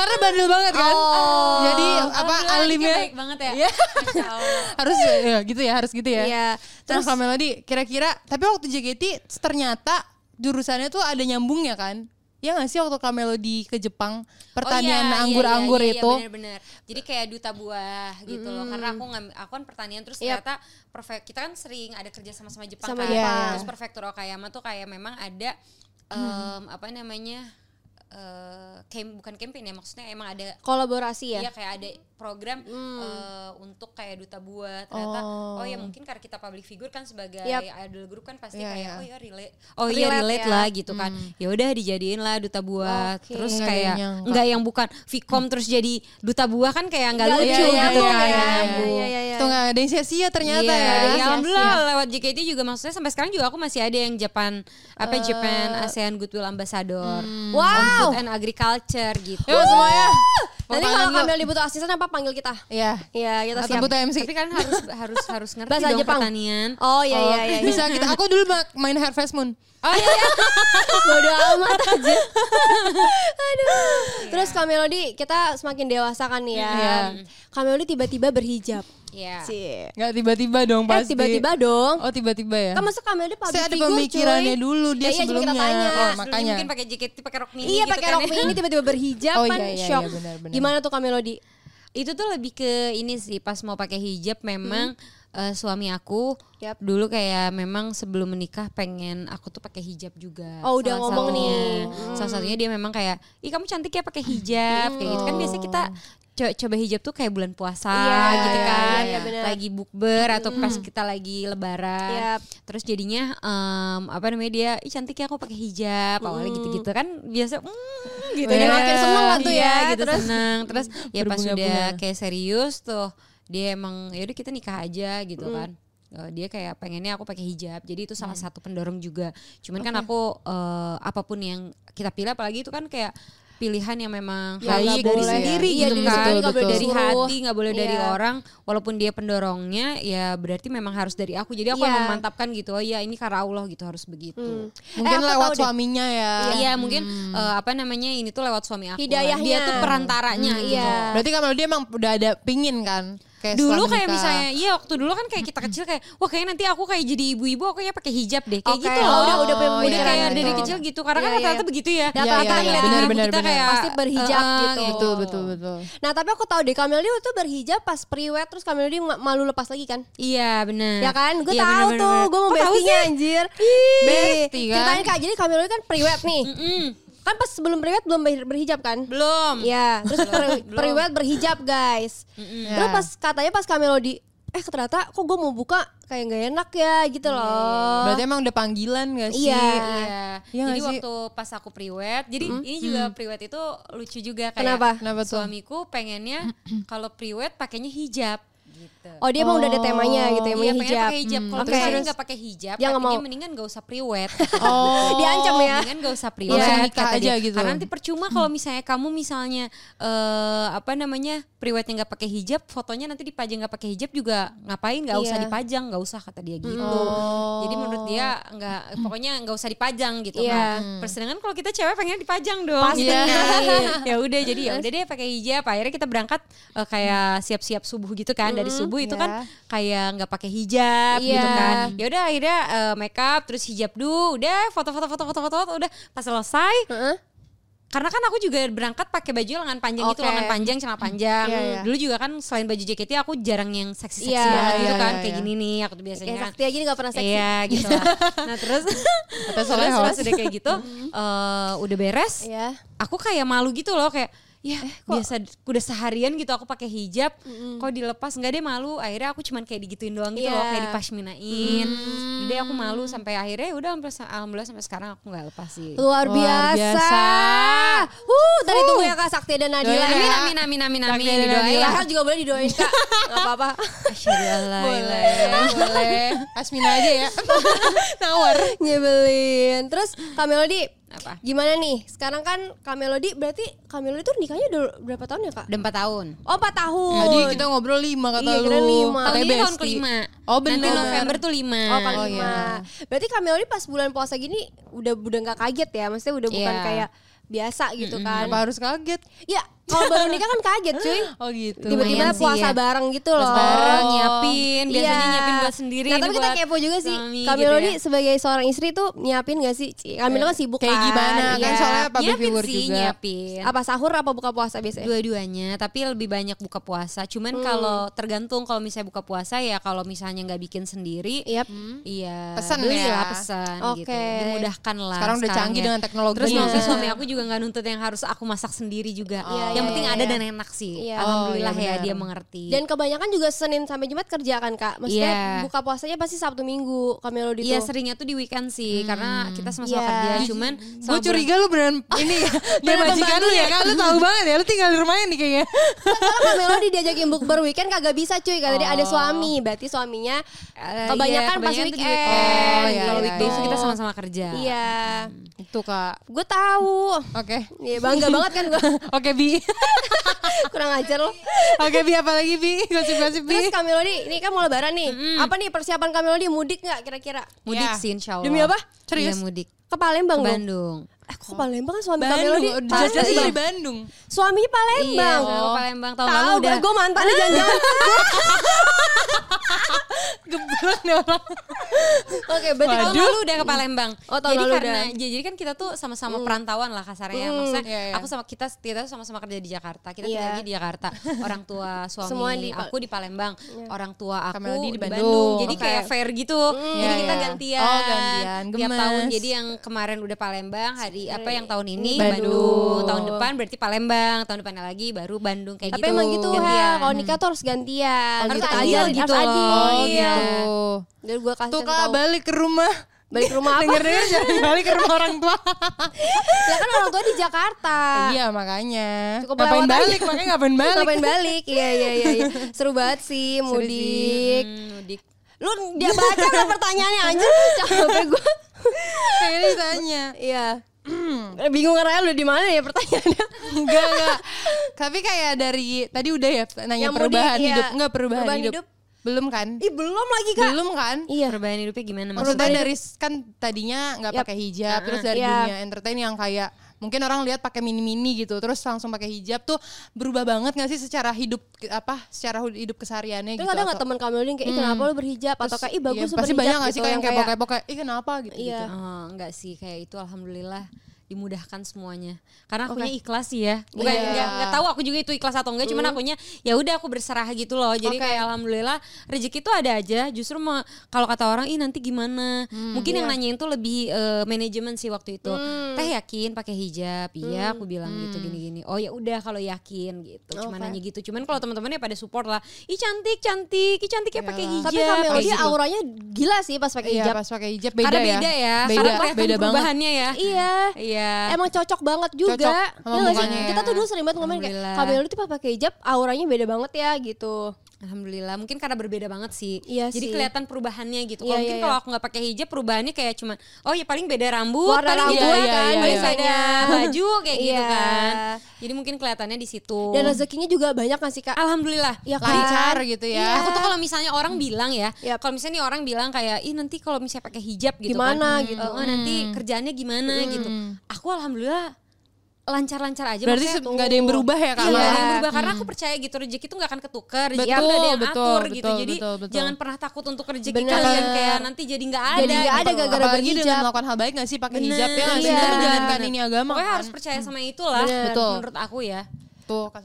Speaker 3: Karena bandel banget kan.
Speaker 4: Oh.
Speaker 3: Jadi apa
Speaker 5: Alhamdulillah,
Speaker 3: alimnya
Speaker 5: anaknya baik banget ya.
Speaker 3: Iya.
Speaker 5: Masya Allah.
Speaker 3: harus ya, gitu ya, harus gitu ya.
Speaker 4: Iya.
Speaker 3: Terus nah, Melody, kira-kira tapi waktu JKT ternyata jurusannya tuh ada nyambungnya kan? Iya gak sih waktu Kak Melody ke Jepang pertanian
Speaker 5: Oh, iya, iya,
Speaker 3: anggur-anggur
Speaker 5: iya, iya,
Speaker 3: itu?
Speaker 5: benar-benar. Jadi kayak duta buah gitu loh. Karena aku ngambil aku kan pertanian terus
Speaker 4: Yap.
Speaker 5: ternyata perfect kita kan sering ada kerja sama-sama Jepang
Speaker 4: Sama
Speaker 5: kan.
Speaker 4: Jepang.
Speaker 5: Terus prefektur Okayama tuh kayak memang ada em, apa namanya? eh camp, bukan campaign ya maksudnya emang ada
Speaker 4: Kolaborasi ya.
Speaker 5: Iya kayak ada program eh, untuk kayak duta buah ternyata oh. ya mungkin karena kita public figure kan sebagai
Speaker 4: Yap.
Speaker 5: idol group kan pasti
Speaker 3: Iya,
Speaker 5: kayak
Speaker 3: iya.
Speaker 5: oh ya relate oh
Speaker 4: Relate
Speaker 5: iya relate
Speaker 4: ya.
Speaker 5: lah gitu kan ya udah dijadiin lah duta buah
Speaker 4: Oke.
Speaker 5: terus
Speaker 3: Nggak ada yang
Speaker 5: kayak
Speaker 3: nyangka.
Speaker 5: nggak yang bukan Vcom terus jadi duta buah kan kayak nggak
Speaker 4: Nggak
Speaker 5: lucu
Speaker 4: lucu,
Speaker 5: gitu
Speaker 4: iya,
Speaker 5: kan
Speaker 4: iya,
Speaker 5: ya,
Speaker 4: iya,
Speaker 5: Bu.
Speaker 4: iya, iya.
Speaker 3: Tuh gak ada yang sia-sia ternyata
Speaker 5: Iya,
Speaker 3: ya.
Speaker 5: ya, alhamdulillah lewat JKT juga maksudnya sampai sekarang juga aku masih ada yang Japan apa Japan ASEAN Goodwill Ambassador on
Speaker 4: Hmm. Wow. Ya,
Speaker 5: food and agriculture gitu.
Speaker 3: Yuk semuanya.
Speaker 4: Nanti
Speaker 3: Tangan
Speaker 4: kalau
Speaker 3: dulu.
Speaker 4: Kamel butuh asisten apa panggil kita?
Speaker 3: Iya.
Speaker 4: Iya, kita
Speaker 3: Atau
Speaker 4: siap.
Speaker 3: butuh MC.
Speaker 5: Tapi kan harus harus harus ngerti
Speaker 4: Bahasa
Speaker 5: dong
Speaker 4: Jepang.
Speaker 5: pertanian.
Speaker 4: Oh iya iya iya.
Speaker 3: Bisa kita, aku dulu ma- main Harvest Moon.
Speaker 5: Oh iya, iya.
Speaker 4: Bodo amat aja. Aduh. Terus Kak Melody, kita semakin dewasa kan ya. Kak Melody tiba-tiba berhijab.
Speaker 5: Iya.
Speaker 4: Sih.
Speaker 3: Gak tiba-tiba dong
Speaker 4: Eh
Speaker 3: pasti.
Speaker 4: tiba-tiba dong.
Speaker 3: Oh tiba-tiba ya.
Speaker 4: Kan masa Kak Melody public
Speaker 3: Saya ada
Speaker 4: figure,
Speaker 3: pemikirannya
Speaker 4: cuy.
Speaker 3: dulu
Speaker 4: Ya,
Speaker 3: dia
Speaker 4: iya, cuma kita
Speaker 3: sebelumnya.
Speaker 4: tanya.
Speaker 3: Oh,
Speaker 5: Sebelumnya
Speaker 3: makanya.
Speaker 5: mungkin pakai JKT, pakai rok mini
Speaker 4: Iya
Speaker 5: gitu
Speaker 4: pakai
Speaker 5: kan
Speaker 4: rok
Speaker 5: ya.
Speaker 4: mini tiba-tiba berhijab
Speaker 3: Oh,
Speaker 4: kan
Speaker 3: iya, iya,
Speaker 4: shock.
Speaker 3: iya, benar-benar.
Speaker 4: Gimana tuh Kak Melody?
Speaker 5: Itu tuh lebih ke ini sih pas mau pakai hijab memang eh, suami aku
Speaker 4: Hmm. Yap.
Speaker 5: dulu kayak memang sebelum menikah pengen aku tuh pakai hijab juga.
Speaker 4: Oh, udah ngomong nih. Hmm.
Speaker 5: satunya. Salah satunya dia memang kayak, "Ih, kamu cantik ya pakai hijab." kayak gitu kan biasanya kita co- coba hijab tuh kayak bulan puasa
Speaker 4: Hmm. Iya,
Speaker 5: gitu
Speaker 4: iya,
Speaker 5: kan.
Speaker 4: iya, benar.
Speaker 5: lagi bukber atau pas kita lagi lebaran.
Speaker 4: Yap.
Speaker 5: Terus jadinya em, apa namanya dia, "Ih, cantik ya aku pakai hijab."
Speaker 4: Hmm.
Speaker 5: Awalnya gitu-gitu kan biasa "Mm," gitu
Speaker 4: Jadi
Speaker 5: ya.
Speaker 4: makin seneng lah tuh
Speaker 5: Iya,
Speaker 4: ya.
Speaker 5: gitu
Speaker 4: Terus-
Speaker 5: seneng. Terus ya pas
Speaker 3: Berbunga-bunga.
Speaker 5: udah kayak serius tuh dia emang yaudah kita nikah aja gitu
Speaker 4: Mm.
Speaker 5: kan Eh, dia kayak pengennya aku pakai hijab jadi itu salah satu pendorong juga cuman kan aku eh, apapun yang kita pilih apalagi itu kan kayak pilihan yang memang
Speaker 4: Ya,
Speaker 5: baik
Speaker 4: nggak
Speaker 5: dari
Speaker 4: boleh.
Speaker 5: sendiri
Speaker 4: Iya,
Speaker 5: gitu
Speaker 4: dari
Speaker 5: kan
Speaker 4: sendiri,
Speaker 5: nggak boleh dari
Speaker 4: betul.
Speaker 5: hati nggak boleh dari
Speaker 4: Iya.
Speaker 5: orang walaupun dia pendorongnya ya berarti memang harus dari aku jadi aku
Speaker 4: Iya. Mm.
Speaker 5: yang memantapkan gitu oh iya ini karena Allah gitu harus begitu
Speaker 3: Mungkin
Speaker 4: eh, aku
Speaker 3: lewat
Speaker 4: tahu deh.
Speaker 3: suaminya ya.
Speaker 5: Iya mungkin eh, apa namanya ini tuh lewat suami aku. lah.
Speaker 4: Mm. Hidayahnya.
Speaker 5: Dia tuh perantaranya.
Speaker 4: Hmm,
Speaker 5: gitu.
Speaker 4: iya.
Speaker 3: Berarti kan dia emang udah ada pingin kan? Kayak
Speaker 5: Dulu
Speaker 3: setelah
Speaker 5: kayak
Speaker 3: menikah.
Speaker 5: misalnya, iya waktu dulu kan kayak kita kecil kayak, wah kayaknya nanti aku kayak jadi ibu-ibu aku ya pakai hijab deh, kayak
Speaker 4: Oke,
Speaker 5: gitu
Speaker 4: oh, udah-
Speaker 5: loh.
Speaker 4: udah punya
Speaker 5: udah
Speaker 4: pemikiran
Speaker 5: kayak dari
Speaker 4: gitu.
Speaker 5: kecil gitu, karena kan
Speaker 4: Iya, iya.
Speaker 5: rata-rata begitu ya.
Speaker 4: Iya,
Speaker 5: Rata-rata
Speaker 3: iya, iya.
Speaker 5: ngeliat
Speaker 3: Benar,
Speaker 5: ibu
Speaker 3: benar,
Speaker 5: kita
Speaker 3: benar.
Speaker 5: kayak
Speaker 4: Pasti berhijab
Speaker 5: eh, eh,
Speaker 4: gitu.
Speaker 3: Betul, betul, betul.
Speaker 4: Nah tapi aku tahu deh Kamil tuh berhijab pas priwet terus Kamil dia ma- malu lepas lagi kan?
Speaker 5: Iya benar.
Speaker 4: Ya kan, gue
Speaker 5: Iya,
Speaker 4: tahu
Speaker 5: benar,
Speaker 4: tuh,
Speaker 5: benar.
Speaker 4: gue mau
Speaker 5: Kok tahu
Speaker 4: bestinya
Speaker 5: sih?
Speaker 4: anjir.
Speaker 3: Besti kan?
Speaker 4: Ceritain kak, jadi Kamil kan priwet nih.
Speaker 5: Mm-mm.
Speaker 4: Kan pas sebelum priwet belum ber- berhijab kan?
Speaker 5: Hmm, Belum.
Speaker 4: Ya, terus per-
Speaker 5: Belum.
Speaker 4: periwet berhijab guys. Terus
Speaker 3: Ya.
Speaker 4: pas katanya pas Kamil di, eh ternyata kok gue mau buka kayak gak enak ya gitu loh.
Speaker 3: Berarti emang udah panggilan gak sih?
Speaker 4: Iya. Hmm,
Speaker 5: Iya.
Speaker 3: Iya
Speaker 5: jadi
Speaker 3: nggak sih?
Speaker 5: waktu pas aku priwet, jadi ini juga priwet itu lucu juga kayak
Speaker 4: Kenapa?
Speaker 3: Kenapa tuh?
Speaker 5: suamiku pengennya kalau priwet pakainya hijab gitu.
Speaker 4: Oh dia emang udah ada temanya gitu ya,
Speaker 5: Iya,
Speaker 4: mau
Speaker 5: pengen
Speaker 4: hijab. Hmm,
Speaker 5: pakai hijab. Kalau
Speaker 4: Oke.
Speaker 5: misalnya
Speaker 4: Terus?
Speaker 5: nggak pakai hijab,
Speaker 4: Dia nggak
Speaker 5: katanya
Speaker 4: mau.
Speaker 5: mendingan nggak usah priwet.
Speaker 3: Oh.
Speaker 4: Diancam ya.
Speaker 5: Mendingan nggak usah priwet.
Speaker 3: Langsung nikah
Speaker 5: kata
Speaker 3: aja
Speaker 5: dia.
Speaker 3: gitu.
Speaker 5: Iya, Karena nanti percuma kalau misalnya kamu misalnya eh apa namanya priwetnya nggak pakai hijab, fotonya nanti dipajang nggak pakai hijab juga ngapain? Nggak usah
Speaker 4: Iya. Oh.
Speaker 5: dipajang, nggak usah kata dia gitu. Jadi menurut dia nggak,
Speaker 3: Hmm.
Speaker 5: pokoknya nggak usah dipajang gitu.
Speaker 4: Iya.
Speaker 5: Nah, persedangkan kalau kita cewek pengen dipajang dong.
Speaker 4: Pasti.
Speaker 5: Iya. ya udah jadi ya udah deh pakai hijab. Akhirnya kita berangkat eh, kayak siap-siap subuh gitu kan dari
Speaker 4: Hmm,
Speaker 5: subuh itu kan kayak nggak pakai hijab gitu
Speaker 4: Iya.
Speaker 5: kan. Ya udah akhirnya eh, make up terus hijab dulu. Udah foto-foto foto-foto foto udah pas selesai
Speaker 4: Heeh.
Speaker 5: karena kan aku juga berangkat pakai baju lengan panjang gitu
Speaker 4: Oke.
Speaker 5: lengan panjang celana panjang
Speaker 3: Iya, iya.
Speaker 5: dulu juga kan selain baju JKT aku jarang yang seksi seksi
Speaker 4: Iya,
Speaker 3: iya,
Speaker 5: banget gitu kan
Speaker 3: iya,
Speaker 5: kayak
Speaker 3: iya.
Speaker 5: gini nih aku tuh biasanya
Speaker 4: Kayak sakti aja gak pernah seksi.
Speaker 5: iya gitu lah. nah terus terus
Speaker 3: soleh
Speaker 5: pas
Speaker 3: host.
Speaker 5: udah kayak gitu eh, udah beres
Speaker 4: Iya. Eh,
Speaker 5: aku kayak malu gitu loh kayak ya biasa udah seharian gitu aku pakai hijab kok dilepas nggak deh malu akhirnya aku cuman kayak digituin doang gitu
Speaker 4: Iya. Mm.
Speaker 5: loh kayak dipasminain jadi aku malu sampai akhirnya ya udah alhamdulillah sampai sekarang aku nggak lepas sih
Speaker 4: Luar biasa.
Speaker 3: biasa.
Speaker 4: Wuh, tadi tunggu ya Kak Sakti dan Nadila.
Speaker 5: Amin
Speaker 4: Amin,
Speaker 5: amin amin amin
Speaker 3: Tapi ada
Speaker 5: amin didoain
Speaker 3: Nadila.
Speaker 5: lah.
Speaker 4: Lahar juga boleh didoain Kak. Gak apa-apa.
Speaker 5: Boleh.
Speaker 3: Boleh. Asmina aja ya.
Speaker 4: Nawar. Nyebelin. Terus Kak Melody,
Speaker 5: Apa?
Speaker 4: gimana nih? Sekarang kan Kak Melody, berarti Kak Melody tuh nikahnya udah berapa tahun ya Kak?
Speaker 5: Udah 4 tahun.
Speaker 4: Oh 4 tahun.
Speaker 3: Tadi kita
Speaker 5: gitu.
Speaker 3: ngobrol lima kata
Speaker 4: Iya,
Speaker 3: lu.
Speaker 4: kira lima.
Speaker 5: Tahun
Speaker 3: Katanya
Speaker 5: ini tahun
Speaker 3: besti.
Speaker 5: kelima.
Speaker 3: Oh
Speaker 5: Nanti
Speaker 3: benar.
Speaker 5: November tuh 5.
Speaker 4: Oh kali
Speaker 3: Oh, iya.
Speaker 4: lima. Berarti Kak Melody pas bulan puasa gini udah udah nggak kaget ya? Maksudnya udah bukan
Speaker 5: Iya.
Speaker 4: kayak biasa gitu kan?
Speaker 3: Apa harus kaget?
Speaker 4: Ya kalau baru nikah kan kaget cuy.
Speaker 3: Oh gitu.
Speaker 4: Tiba-tiba
Speaker 5: Lumayan sih
Speaker 4: puasa
Speaker 5: ya.
Speaker 4: bareng gitu loh.
Speaker 5: bareng nyiapin, biasanya
Speaker 4: Iya.
Speaker 5: nyiapin buat sendiri.
Speaker 4: Nah
Speaker 5: ini
Speaker 4: tapi kita
Speaker 5: buat
Speaker 4: kepo juga sih.
Speaker 5: suami
Speaker 4: Kak
Speaker 5: gitu
Speaker 4: Melody
Speaker 5: ya.
Speaker 4: sebagai seorang istri tuh nyiapin gak sih? Ci? Kak Melody kan sibuk
Speaker 3: Kayak
Speaker 4: kan.
Speaker 3: gimana kan
Speaker 4: Iya.
Speaker 3: soalnya public
Speaker 5: nyiapin
Speaker 3: figure
Speaker 5: sih,
Speaker 3: juga.
Speaker 5: nyiapin.
Speaker 4: Apa sahur apa buka puasa biasanya?
Speaker 5: Dua-duanya, tapi lebih banyak buka puasa. Cuman kalau tergantung kalau misalnya buka puasa ya kalau misalnya nggak bikin sendiri,
Speaker 4: Yap.
Speaker 5: Iya.
Speaker 3: Pesan
Speaker 5: beli
Speaker 3: ya.
Speaker 5: lah pesan gitu.
Speaker 4: Oke.
Speaker 5: Dimudahkan lah. ya.
Speaker 3: Sekarang udah canggih dengan teknologi.
Speaker 5: Terus
Speaker 3: Iya.
Speaker 5: maksudnya suami aku juga nggak nuntut yang harus aku masak sendiri juga.
Speaker 4: Iya, iya,
Speaker 5: yang penting
Speaker 4: iya,
Speaker 5: ada
Speaker 4: iya.
Speaker 5: dan enak sih.
Speaker 4: Iya.
Speaker 5: Alhamdulillah
Speaker 3: Oh, iya,
Speaker 5: ya
Speaker 3: benar.
Speaker 5: dia mengerti.
Speaker 4: Dan kebanyakan juga Senin sampai Jumat kerja kan kak? Maksudnya
Speaker 5: Iya.
Speaker 4: buka puasanya pasti Sabtu Minggu Kak Melody
Speaker 5: Iya
Speaker 4: tuh.
Speaker 5: seringnya tuh di weekend sih karena kita sama-sama
Speaker 4: Iya.
Speaker 5: kerja cuman
Speaker 3: Gue curiga lu beneran ini ya. Dia
Speaker 4: Beneran
Speaker 3: majikan lu
Speaker 4: pembantu
Speaker 3: ya kan. Lu tahu banget ya. Lu tinggal di rumahnya nih kayaknya.
Speaker 4: Kalau Kak Melody diajakin bukber weekend kagak bisa cuy Kak tadi ada suami Berarti suaminya
Speaker 5: Eh,
Speaker 4: kebanyakan, pas weekend,
Speaker 5: iya, Oh, iya, kalau
Speaker 4: gitu.
Speaker 5: weekday itu kita sama-sama kerja.
Speaker 4: Iya
Speaker 3: Itu kak.
Speaker 4: Gue tahu
Speaker 3: Oke.
Speaker 4: Iya bangga banget kan gue
Speaker 3: Oke Bi.
Speaker 4: Kurang ajar loh
Speaker 3: Oke Bi apa lagi Bi? Gosip-gosip Bi.
Speaker 4: Terus Kak Melody Ini kan mau lebaran nih
Speaker 5: Hmm.
Speaker 4: Apa nih persiapan Kak Melody Mudik gak kira-kira?
Speaker 5: Mudik
Speaker 3: Iya.
Speaker 5: sih insya Allah.
Speaker 4: Demi apa?
Speaker 5: Serius?
Speaker 3: Serius?
Speaker 5: Iya mudik.
Speaker 4: Ke
Speaker 5: Ke
Speaker 4: Palembang dong?
Speaker 5: Bandung.
Speaker 4: Eh kok ke Palembang kan suami Kak Melody
Speaker 3: Bandung.
Speaker 4: Palembang.
Speaker 3: Jelas-jelas dari Bandung.
Speaker 4: Suaminya Palembang
Speaker 5: Iya, ke Palembang tahun
Speaker 4: Tahu
Speaker 5: lalu
Speaker 4: udah
Speaker 5: udah.
Speaker 4: gue mantannya jangan-jangan
Speaker 3: Geblek nih orang.
Speaker 4: Oke berarti gitu.
Speaker 5: Tahun
Speaker 4: kamu
Speaker 5: lalu udah ke Palembang.
Speaker 4: Oh, tahun
Speaker 5: jadi
Speaker 4: lalu
Speaker 5: karena
Speaker 4: udah.
Speaker 5: jadi kan kita tuh sama-sama perantauan lah kasarnya.
Speaker 4: Hmm.
Speaker 5: Maksudnya
Speaker 3: Iya, iya.
Speaker 5: aku sama kita kita tuh sama-sama kerja di Jakarta.
Speaker 4: Iya.
Speaker 5: Kita tinggal lagi di Jakarta. Orang tua suami
Speaker 4: Semua di Pal- Iya.
Speaker 5: aku di Palembang, orang tua aku
Speaker 3: Melody
Speaker 5: di
Speaker 3: di
Speaker 5: Bandung.
Speaker 3: Bandung.
Speaker 5: Jadi
Speaker 4: Oke. Hmm.
Speaker 5: kayak fair gitu. Jadi
Speaker 3: Iya,
Speaker 5: kita
Speaker 3: iya.
Speaker 5: gantian.
Speaker 3: Oh, gantian.
Speaker 5: Tiap
Speaker 3: Gemes.
Speaker 5: tahun jadi yang kemarin udah Palembang, hari
Speaker 4: Iya,
Speaker 5: apa yang tahun ini
Speaker 3: Bandung.
Speaker 5: Bandung. Tahun depan berarti Palembang, tahun depannya lagi baru Bandung kayak
Speaker 4: Tapi
Speaker 5: gitu.
Speaker 4: emang gitu ya,
Speaker 5: Gantian.
Speaker 4: kalau nikah tuh harus gantian.
Speaker 5: Harus
Speaker 4: Gitu
Speaker 5: adil
Speaker 4: aja,
Speaker 5: gitu
Speaker 4: harus
Speaker 5: loh.
Speaker 4: adil.
Speaker 5: Oh,
Speaker 4: iya.
Speaker 5: gitu.
Speaker 4: Dan gue kasih
Speaker 3: Tuh
Speaker 4: tahu.
Speaker 3: kak balik ke rumah.
Speaker 4: Balik ke rumah apa?
Speaker 3: Denger-denger jangan balik ke rumah orang tua.
Speaker 4: ya kan orang tua di Jakarta.
Speaker 3: Iya makanya.
Speaker 4: Cukup
Speaker 3: ngapain
Speaker 4: lewat aja.
Speaker 3: balik? Makanya ngapain balik?
Speaker 4: Ngapain balik? Iya iya iya. iya. Seru banget sih mudik.
Speaker 5: Hmm, mudik.
Speaker 4: Lu dia baca kan pertanyaannya anjir capek gue.
Speaker 3: Kayaknya ditanya.
Speaker 4: Iya. Eh, Bingung karena udah di mana ya pertanyaannya?
Speaker 3: Enggak, enggak. Tapi kayak dari tadi udah ya nanya
Speaker 4: Yang mau di-
Speaker 3: perubahan
Speaker 4: iya.
Speaker 3: hidup, enggak perubahan,
Speaker 4: Perubahan
Speaker 3: hidup.
Speaker 4: hidup.
Speaker 3: Belum kan?
Speaker 4: Ih belum lagi kak.
Speaker 3: Belum kan?
Speaker 4: Iya.
Speaker 5: Perubahan hidupnya gimana
Speaker 3: Maksudnya
Speaker 5: maksudnya?
Speaker 3: dari kan tadinya nggak
Speaker 4: Yap.
Speaker 3: pakai hijab, terus dari
Speaker 4: Iya.
Speaker 3: dunia entertain yang kayak mungkin orang lihat pakai mini-mini gitu, terus langsung pakai hijab tuh berubah banget nggak sih secara hidup apa, secara hidup kesehariannya
Speaker 4: Terus
Speaker 3: gitu?
Speaker 4: ada nggak
Speaker 3: atau-
Speaker 4: teman kamu yang kayak "Ih, kenapa lu berhijab atau kayak ih
Speaker 3: Iya,
Speaker 4: bagus lu
Speaker 3: pasti
Speaker 4: berhijab
Speaker 3: banyak nggak sih
Speaker 4: gitu,
Speaker 3: kayak
Speaker 4: yang
Speaker 3: yang kepo kepo kayak, ih kenapa gitu?
Speaker 4: Iya.
Speaker 5: Oh, enggak sih kayak itu alhamdulillah dimudahkan semuanya karena akunya ikhlas sih ya bukan
Speaker 4: Iya. Uh.
Speaker 5: enggak enggak tahu aku juga itu ikhlas atau enggak cuman akunya ya udah aku berserah gitu loh jadi kayak alhamdulillah rezeki itu ada aja justru me- kalau kata orang ih nanti gimana
Speaker 4: Hmm,
Speaker 5: mungkin
Speaker 4: iya.
Speaker 5: yang nanyain tuh lebih eh, manajemen sih waktu itu
Speaker 4: Hmm.
Speaker 5: teh yakin pakai hijab iya aku bilang gitu gini gini oh ya udah kalau yakin gitu cuman nanya gitu cuman kalau teman-temannya pada support lah ih cantik cantik ih cantik ya pakai hijab
Speaker 4: Iya. Tapi kamu
Speaker 5: kayak
Speaker 4: dia
Speaker 5: gitu.
Speaker 4: auranya gila sih pas pakai
Speaker 3: Iya
Speaker 4: hijab.
Speaker 3: pas pakai hijab beda
Speaker 5: karena
Speaker 3: ya.
Speaker 5: beda ya,
Speaker 3: Beda,
Speaker 5: karena kelihatan
Speaker 3: beda banget.
Speaker 5: perubahannya ya
Speaker 4: Iya.
Speaker 5: Iya.
Speaker 4: Emang cocok banget juga.
Speaker 3: Cocok sama
Speaker 4: Iya nggak sih?
Speaker 3: mukanya ya.
Speaker 4: Kita tuh dulu sering banget ngomongin kayak
Speaker 5: Alhamdulillah.
Speaker 4: Kamil tuh pas pakai hijab auranya beda banget ya gitu.
Speaker 5: Alhamdulillah, mungkin karena berbeda banget sih.
Speaker 4: Iya
Speaker 5: Jadi
Speaker 4: sih.
Speaker 5: kelihatan perubahannya
Speaker 4: Iya,
Speaker 5: gitu. Kalau mungkin
Speaker 4: iya,
Speaker 5: kalau aku nggak pakai hijab perubahannya kayak cuman oh ya paling beda rambut,
Speaker 4: Warna
Speaker 5: paling
Speaker 4: rambut
Speaker 5: beda-
Speaker 3: kan,
Speaker 5: paling
Speaker 3: iya.
Speaker 5: beda baju kayak gitu
Speaker 4: Iya.
Speaker 5: kan. Jadi mungkin kelihatannya di situ.
Speaker 4: Dan rezekinya juga banyak nggak sih kak?
Speaker 5: Alhamdulillah.
Speaker 4: Iya kan?
Speaker 3: lancar gitu ya.
Speaker 5: Iya, Aku tuh kalau misalnya orang bilang ya,
Speaker 4: Yap.
Speaker 5: kalau misalnya nih orang bilang kayak, ih nanti kalau misalnya pakai hijab gitu
Speaker 4: Gimana
Speaker 5: kan,
Speaker 4: gitu. Hmm.
Speaker 5: "Eh, eh, nanti kerjaannya gimana gitu. Aku alhamdulillah lancar-lancar aja.
Speaker 3: Berarti
Speaker 5: maksudnya-
Speaker 3: se- nggak ada yang berubah ya kak?
Speaker 5: Iya,
Speaker 3: Mel?
Speaker 5: ada yang berubah karena
Speaker 4: Hmm.
Speaker 5: aku percaya gitu rezeki tuh nggak akan ketukar, rezeki
Speaker 3: Betul,
Speaker 5: tuh ada yang
Speaker 3: betul,
Speaker 5: atur gitu.
Speaker 3: betul,
Speaker 5: Jadi
Speaker 3: betul, betul.
Speaker 5: jangan pernah takut untuk rezeki
Speaker 4: Bener.
Speaker 5: kalian kayak nanti jadi nggak ada.
Speaker 4: Jadi nggak ada
Speaker 5: gitu.
Speaker 4: gara-gara
Speaker 3: Apalagi dengan
Speaker 4: berhijab.
Speaker 3: melakukan hal baik nggak sih pakai
Speaker 5: Bener,
Speaker 3: hijab ya nggak sih?
Speaker 5: iya.
Speaker 3: Kita menjalankan ini agama.
Speaker 5: Pokoknya
Speaker 3: kan?
Speaker 5: harus percaya sama itulah
Speaker 4: Bener.
Speaker 5: Betul. menurut aku ya.
Speaker 3: Tuh Kak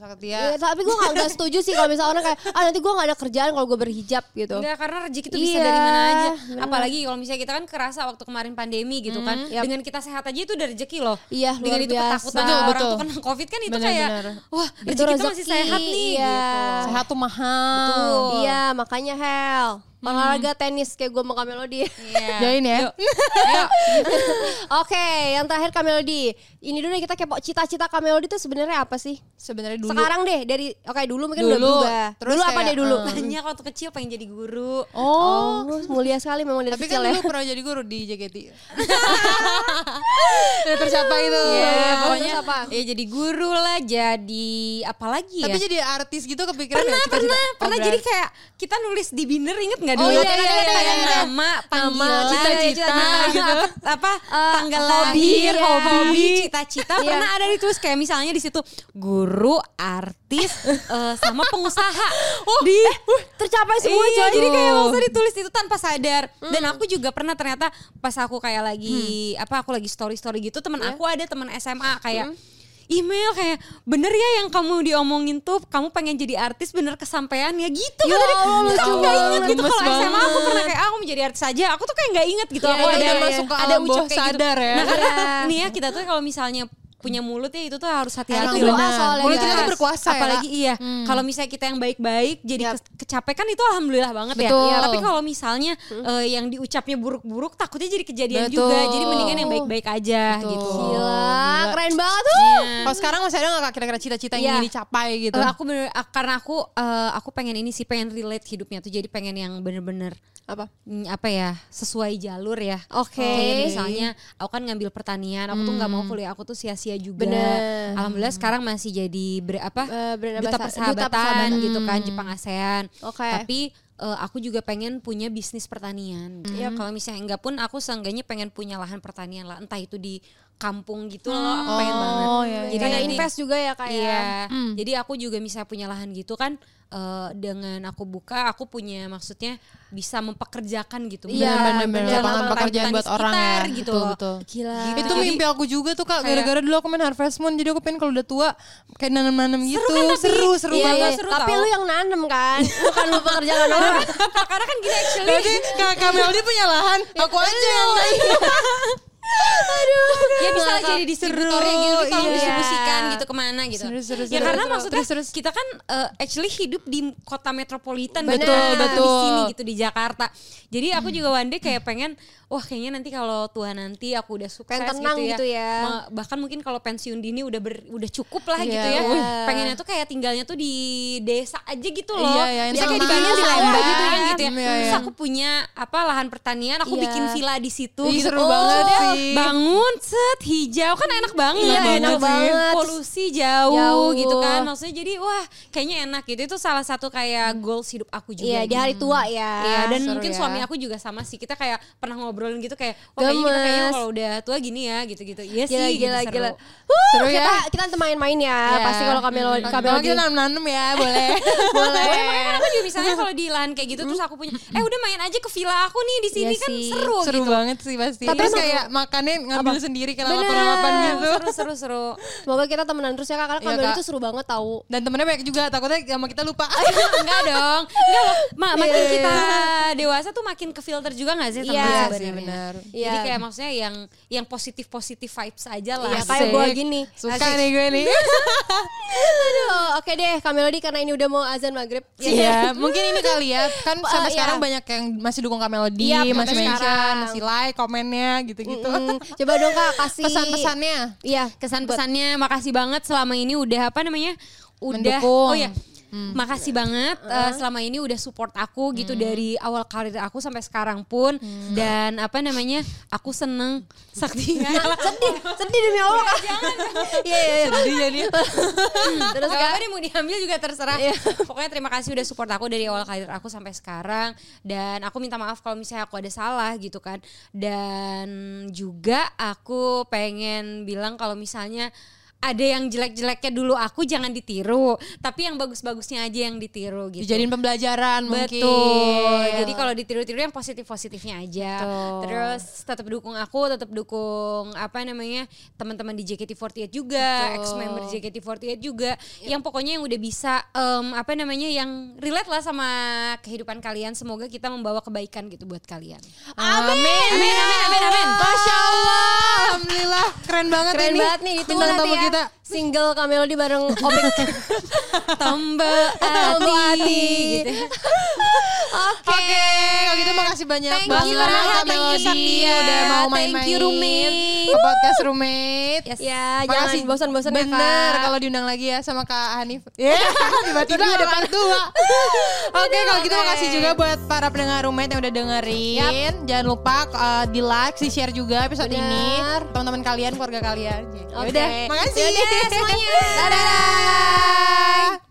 Speaker 4: Iya,
Speaker 3: Saktia.
Speaker 4: tapi gue gak, nggak setuju sih kalau misalnya orang kayak ah nanti gue gak ada kerjaan kalau gue berhijab gitu.
Speaker 5: Enggak karena rezeki tuh bisa
Speaker 4: Iya,
Speaker 5: dari mana aja.
Speaker 4: bener.
Speaker 5: Apalagi kalau misalnya kita kan kerasa waktu kemarin pandemi gitu kan.
Speaker 4: Hmm, Yap.
Speaker 5: Dengan kita sehat aja itu udah rezeki loh.
Speaker 4: Iya,
Speaker 5: Dengan
Speaker 4: luar
Speaker 5: itu
Speaker 4: biasa.
Speaker 5: ketakutan
Speaker 3: Betul,
Speaker 5: orang
Speaker 3: betul.
Speaker 5: tuh kena Covid kan itu
Speaker 3: Bener,
Speaker 5: kayak
Speaker 3: bener.
Speaker 5: wah,
Speaker 4: Itu
Speaker 5: rezeki kita masih
Speaker 4: rezeki,
Speaker 5: sehat nih
Speaker 4: iya.
Speaker 5: gitu.
Speaker 3: Sehat tuh mahal.
Speaker 5: Betul. Hmm.
Speaker 4: Iya makanya hell olahraga tenis kayak gue mau Kamelodi.
Speaker 5: Iya.
Speaker 3: Join ya.
Speaker 5: Yuk. Ayo.
Speaker 4: Oke, yang terakhir Kamelodi. Ini dulu deh kita kepo cita-cita Kamelodi itu sebenarnya apa sih?
Speaker 3: Sebenarnya dulu.
Speaker 4: Sekarang deh dari oke dulu mungkin udah
Speaker 3: Dulu,
Speaker 4: berubah.
Speaker 3: terus
Speaker 4: dulu apa
Speaker 3: kayak,
Speaker 4: deh dulu?
Speaker 5: Banyak waktu kecil pengen jadi guru.
Speaker 4: Oh, mulia sekali memang dari
Speaker 3: Tapi kan
Speaker 4: kecil ya.
Speaker 3: dulu pernah jadi guru di JKT. Udah tercapai itu.
Speaker 5: Iya,
Speaker 4: Iya,
Speaker 5: pokoknya
Speaker 4: terus apa?
Speaker 5: ya jadi guru lah, jadi apa lagi ya?
Speaker 3: Tapi jadi artis gitu kepikiran
Speaker 5: pernah,
Speaker 3: nggak
Speaker 5: pernah,
Speaker 3: cita-cita?
Speaker 5: pernah,
Speaker 3: Oh,
Speaker 5: jadi
Speaker 3: berat.
Speaker 5: kayak kita nulis di binder inget nggak
Speaker 3: Oh,
Speaker 5: dulu?
Speaker 3: iya,
Speaker 5: Kan ada
Speaker 3: iya, iya,
Speaker 5: kayak
Speaker 3: iya.
Speaker 5: nama, panggilan,
Speaker 3: cita-cita, Eh,
Speaker 5: gitu. apa, apa tanggal
Speaker 4: hobi,
Speaker 5: lahir,
Speaker 4: iya.
Speaker 5: hobi, cita-cita.
Speaker 4: Iya.
Speaker 5: Pernah ada ditulis kayak misalnya di situ guru, artis, eh, sama pengusaha. Oh, di,
Speaker 3: eh, uh.
Speaker 4: Tercapai semua gitu.
Speaker 5: iya,
Speaker 4: coy.
Speaker 5: jadi kayak langsung ditulis itu tanpa sadar dan aku juga pernah ternyata pas aku kayak lagi apa aku lagi story story gitu teman aku ada teman SMA kayak email kayak bener ya yang kamu diomongin tuh kamu pengen jadi artis bener kesampaian ya gitu
Speaker 4: Ya
Speaker 5: kan tadi.
Speaker 4: Allah,
Speaker 5: Terus aku
Speaker 4: lucu
Speaker 5: nggak inget
Speaker 3: banget,
Speaker 5: gitu
Speaker 3: gemes
Speaker 5: kalau SMA aku
Speaker 3: banget.
Speaker 5: pernah kayak ah, aku mau jadi artis aja aku tuh kayak nggak inget gitu
Speaker 3: Iya,
Speaker 5: aku
Speaker 3: itu
Speaker 5: ada
Speaker 3: udah masuk ke
Speaker 5: ada
Speaker 3: alam
Speaker 5: ucap
Speaker 3: bawah
Speaker 5: kayak
Speaker 3: sadar
Speaker 5: gitu
Speaker 3: ya.
Speaker 5: nah karena nih ya kita tuh kalau misalnya punya mulut ya itu tuh harus hati-hati
Speaker 4: Itu
Speaker 5: loh.
Speaker 4: doa soalnya,
Speaker 5: Mulut kita
Speaker 4: guys.
Speaker 5: tuh berkuasa ya,
Speaker 3: Apalagi
Speaker 5: apalagi iya kalau misalnya kita yang baik-baik jadi
Speaker 4: Yap.
Speaker 5: kes- kecapekan itu alhamdulillah banget
Speaker 3: Betul.
Speaker 5: ya tapi kalau misalnya eh, yang diucapnya buruk-buruk takutnya jadi kejadian
Speaker 3: Betul.
Speaker 5: juga jadi mendingan yang baik-baik aja
Speaker 3: Betul.
Speaker 5: gitu
Speaker 4: Gila,
Speaker 3: Gila.
Speaker 4: keren banget tuh.
Speaker 3: Kalau sekarang masih ada nggak Kak, kira-kira cita-cita yang
Speaker 5: Hmm. Iya.
Speaker 3: ingin dicapai gitu?
Speaker 5: Eh, aku bener, ak- karena aku eh, aku pengen ini sih pengen relate hidupnya tuh jadi pengen yang bener-bener
Speaker 4: Apa?
Speaker 3: Gitu.
Speaker 5: mm, apa ya sesuai jalur ya
Speaker 4: Oke.
Speaker 5: Kayak misalnya aku kan ngambil pertanian aku tuh nggak mau kuliah aku tuh sia-sia juga
Speaker 4: Bener.
Speaker 5: alhamdulilah sekarang masih jadi ber, apa
Speaker 4: Eh, brand
Speaker 5: duta
Speaker 4: ambasa-
Speaker 5: persahabatan,
Speaker 4: duta persahabatan.
Speaker 5: gitu kan Jepang ASEAN
Speaker 4: Oke.
Speaker 5: tapi eh, aku juga pengen punya bisnis pertanian gitu. kalau misalnya enggak pun aku seenggaknya pengen punya lahan pertanian lah entah itu di kampung gitu loh aku pengen banget
Speaker 3: Oh, iya,
Speaker 5: jadi
Speaker 4: kayak
Speaker 5: nanti-
Speaker 4: invest juga ya kayak.
Speaker 5: Iya. Jadi aku juga bisa punya lahan gitu kan eh, dengan aku buka aku punya maksudnya bisa mempekerjakan gitu.
Speaker 4: Iya,
Speaker 5: Bener-bener
Speaker 4: bener-bener.
Speaker 5: punya
Speaker 4: Lapangan
Speaker 5: orang-orang
Speaker 3: pekerjaan
Speaker 5: petani
Speaker 3: buat orang ya.
Speaker 5: sekitar gitu.
Speaker 3: Betul,
Speaker 5: loh.
Speaker 3: betul.
Speaker 4: Gila.
Speaker 5: Gitu.
Speaker 3: itu
Speaker 5: Jadi-
Speaker 3: mimpi aku juga tuh kak
Speaker 5: kayak-
Speaker 3: gara-gara dulu aku main Harvest Moon jadi aku pengen kalau udah tua kayak nanam-nanam gitu
Speaker 5: kan tapi?
Speaker 3: seru seru
Speaker 5: Iya,
Speaker 3: banget
Speaker 5: iya. seru
Speaker 4: Tapi
Speaker 5: tau.
Speaker 4: lu yang nanem kan, bukan lu pekerjaan orang.
Speaker 5: Karena kan gini actually
Speaker 3: berarti
Speaker 5: Iya.
Speaker 3: kak Kameldi punya lahan
Speaker 4: Iya,
Speaker 3: aku aja yang main.
Speaker 5: ya bisa
Speaker 3: Ngangkat.
Speaker 5: jadi distributornya gitu
Speaker 3: Seru,
Speaker 5: kita tolong
Speaker 3: iya.
Speaker 5: distribusikan gitu kemana gitu
Speaker 3: Seru, seru,
Speaker 5: ya
Speaker 3: seru,
Speaker 5: karena
Speaker 3: seru.
Speaker 5: maksudnya
Speaker 3: Terus, terus.
Speaker 5: kita kan eh, actually hidup di kota metropolitan
Speaker 3: Betul,
Speaker 5: gitu,
Speaker 3: betul. Hmm.
Speaker 5: di sini gitu di Jakarta jadi aku juga one day kayak pengen wah kayaknya nanti kalau Tuhan nanti aku udah sukses
Speaker 4: Pengen tenang
Speaker 5: gitu
Speaker 4: gitu
Speaker 5: ya,
Speaker 4: ya.
Speaker 5: Ma- bahkan mungkin kalau pensiun dini udah ber- udah cukup lah
Speaker 3: Iya.
Speaker 5: gitu ya
Speaker 3: Wih.
Speaker 5: pengennya tuh kayak tinggalnya tuh di desa aja gitu loh
Speaker 3: Iya, iya, yang
Speaker 5: bisa kayak di
Speaker 3: tenang,
Speaker 5: Bandung di
Speaker 3: sawah
Speaker 5: Lembang
Speaker 3: gitu
Speaker 5: gitu
Speaker 3: ya.
Speaker 5: ya,
Speaker 3: Iya, iya.
Speaker 5: terus aku punya apa lahan pertanian aku
Speaker 4: Iya.
Speaker 5: bikin villa di situ
Speaker 3: Ih,
Speaker 5: gitu.
Speaker 3: seru banget
Speaker 5: Maksudnya,
Speaker 3: sih. sih.
Speaker 5: bangun set hijau kan enak banget
Speaker 4: Iya,
Speaker 5: gitu.
Speaker 4: enak banget.
Speaker 5: polusi jauh,
Speaker 4: Jauh.
Speaker 5: gitu kan maksudnya jadi wah kayaknya enak gitu itu salah satu kayak goals hidup aku juga gitu.
Speaker 4: Iya, di hari tua ya.
Speaker 5: Iya, dan
Speaker 4: Seru
Speaker 5: mungkin
Speaker 4: ya.
Speaker 5: suami aku juga sama sih. Kita kayak pernah ngobrolin gitu kayak, wah kayaknya kita kayaknya
Speaker 4: Gemes.
Speaker 5: kalau udah tua gini ya, gitu-gitu. Iya
Speaker 4: Gila,
Speaker 5: sih,
Speaker 4: gila,
Speaker 5: gitu,
Speaker 4: gila.
Speaker 5: seru.
Speaker 4: Huh,
Speaker 3: Seru
Speaker 4: kita,
Speaker 3: ya? Iya.
Speaker 4: kita main-main ya. Pasti kalau Kamelo
Speaker 3: Kalau
Speaker 4: Kamelo
Speaker 3: kita nanam-nanam ya, boleh.
Speaker 4: boleh.
Speaker 5: Boleh, makanya kan aku juga misalnya kalau di lahan kayak gitu terus aku punya, eh udah main aja ke villa aku nih di sini
Speaker 4: Iya
Speaker 5: kan
Speaker 4: sih.
Speaker 5: seru,
Speaker 3: Seru
Speaker 5: gitu.
Speaker 3: banget sih pasti.
Speaker 4: Tapi
Speaker 3: Terus
Speaker 4: emang-
Speaker 3: kayak makannya ngambil sendiri kayak
Speaker 4: Bener.
Speaker 3: lalapan-lalapan gitu.
Speaker 5: Seru, seru, seru.
Speaker 4: Semoga kita temenan terus ya Kak. Karena
Speaker 3: Iya,
Speaker 4: Kamelo
Speaker 3: Kak.
Speaker 4: itu seru banget tahu.
Speaker 3: Dan temennya banyak juga, takutnya sama kita lupa.
Speaker 5: Enggak dong. Enggak, ma- makin kita dewasa tuh makin ke filter juga gak sih teman
Speaker 4: Iya
Speaker 5: sebenarnya?
Speaker 3: sih, benar.
Speaker 5: Jadi
Speaker 4: Iya.
Speaker 5: kayak maksudnya yang yang positif-positif vibes aja lah.
Speaker 4: Iya,
Speaker 5: Asik.
Speaker 4: kayak gue gini.
Speaker 3: Suka nih gue nih. Iya.
Speaker 4: Aduh, oke deh Kamelo di karena ini udah mau azan maghrib.
Speaker 3: Iya, mungkin ini kali ya. Kan
Speaker 4: Oh,
Speaker 3: sampai
Speaker 4: iya.
Speaker 3: sekarang banyak yang masih dukung Kak Melody,
Speaker 4: Iya, sampai
Speaker 3: masih mention,
Speaker 4: sekarang.
Speaker 3: masih like komennya gitu-gitu.
Speaker 4: Mm, coba dong Kak kasih
Speaker 3: Pesan-pesannya.
Speaker 4: Iya,
Speaker 5: kesan-pesannya makasih banget selama ini udah apa namanya udah
Speaker 3: Mendukung.
Speaker 5: oh ya
Speaker 4: Hmm. Iya.
Speaker 5: makasih banget eh, selama ini udah support aku gitu dari awal karir aku sampai sekarang pun
Speaker 4: Hmm.
Speaker 5: dan apa namanya aku seneng sakti
Speaker 4: sedih, sedih demi Allah Kak. Iya, iya, iya.
Speaker 3: Jadi jadi
Speaker 5: terus apa deh mau diambil juga terserah pokoknya terima kasih udah support aku dari awal karir aku sampai sekarang dan aku minta maaf kalau misalnya aku ada salah gitu kan dan juga aku pengen bilang kalau misalnya ada yang jelek-jeleknya dulu aku jangan ditiru tapi yang bagus-bagusnya aja yang ditiru gitu
Speaker 3: dijadiin pembelajaran mungkin.
Speaker 5: Betul. Jadi kalau ditiru-tiru yang positif-positifnya aja. Terus tetap dukung aku, tetap dukung apa namanya? teman-teman di JKT48 juga, ex member JKT48 juga. Yang pokoknya yang udah bisa em, apa namanya? yang relate lah sama kehidupan kalian. Semoga kita membawa kebaikan gitu buat kalian.
Speaker 3: Amin. Amin, amin, amin, amin, Masya Allah. Alhamdulillah. Keren banget
Speaker 4: Keren
Speaker 3: ini.
Speaker 4: banget nih ditunggu
Speaker 3: Bintang
Speaker 4: nanti
Speaker 3: tamu
Speaker 4: ya.
Speaker 3: kita.
Speaker 4: Single Kamelo di bareng Opik.
Speaker 5: Tombol
Speaker 4: Tombol
Speaker 5: hati.
Speaker 4: hati.
Speaker 5: gitu.
Speaker 3: Oke, kalau gitu makasih banyak
Speaker 5: Thank
Speaker 3: banget
Speaker 5: you,
Speaker 3: sama
Speaker 5: Rahat.
Speaker 3: Kak
Speaker 5: Thank you,
Speaker 3: Melody.
Speaker 5: Saktia.
Speaker 3: udah mau
Speaker 5: Thank
Speaker 3: main-main.
Speaker 5: you, roommate.
Speaker 3: Ke podcast roommate.
Speaker 5: Yes.
Speaker 4: Ya, jangan
Speaker 3: Makasih.
Speaker 4: bosan-bosan ya, Kak. Iya.
Speaker 3: Bener, kalau diundang lagi ya sama Kak Hanif. Ya, tiba-tiba ada part dua. Oke, kalau gitu makasih juga buat para pendengar roommate yang udah dengerin. Jangan lupa uh, di like, di share juga episode ini. Teman-teman kalian, Ya keluarga kalian.
Speaker 4: Oke.
Speaker 3: Yaudah, makasih.
Speaker 4: Yaudah, semuanya.
Speaker 3: Dadah.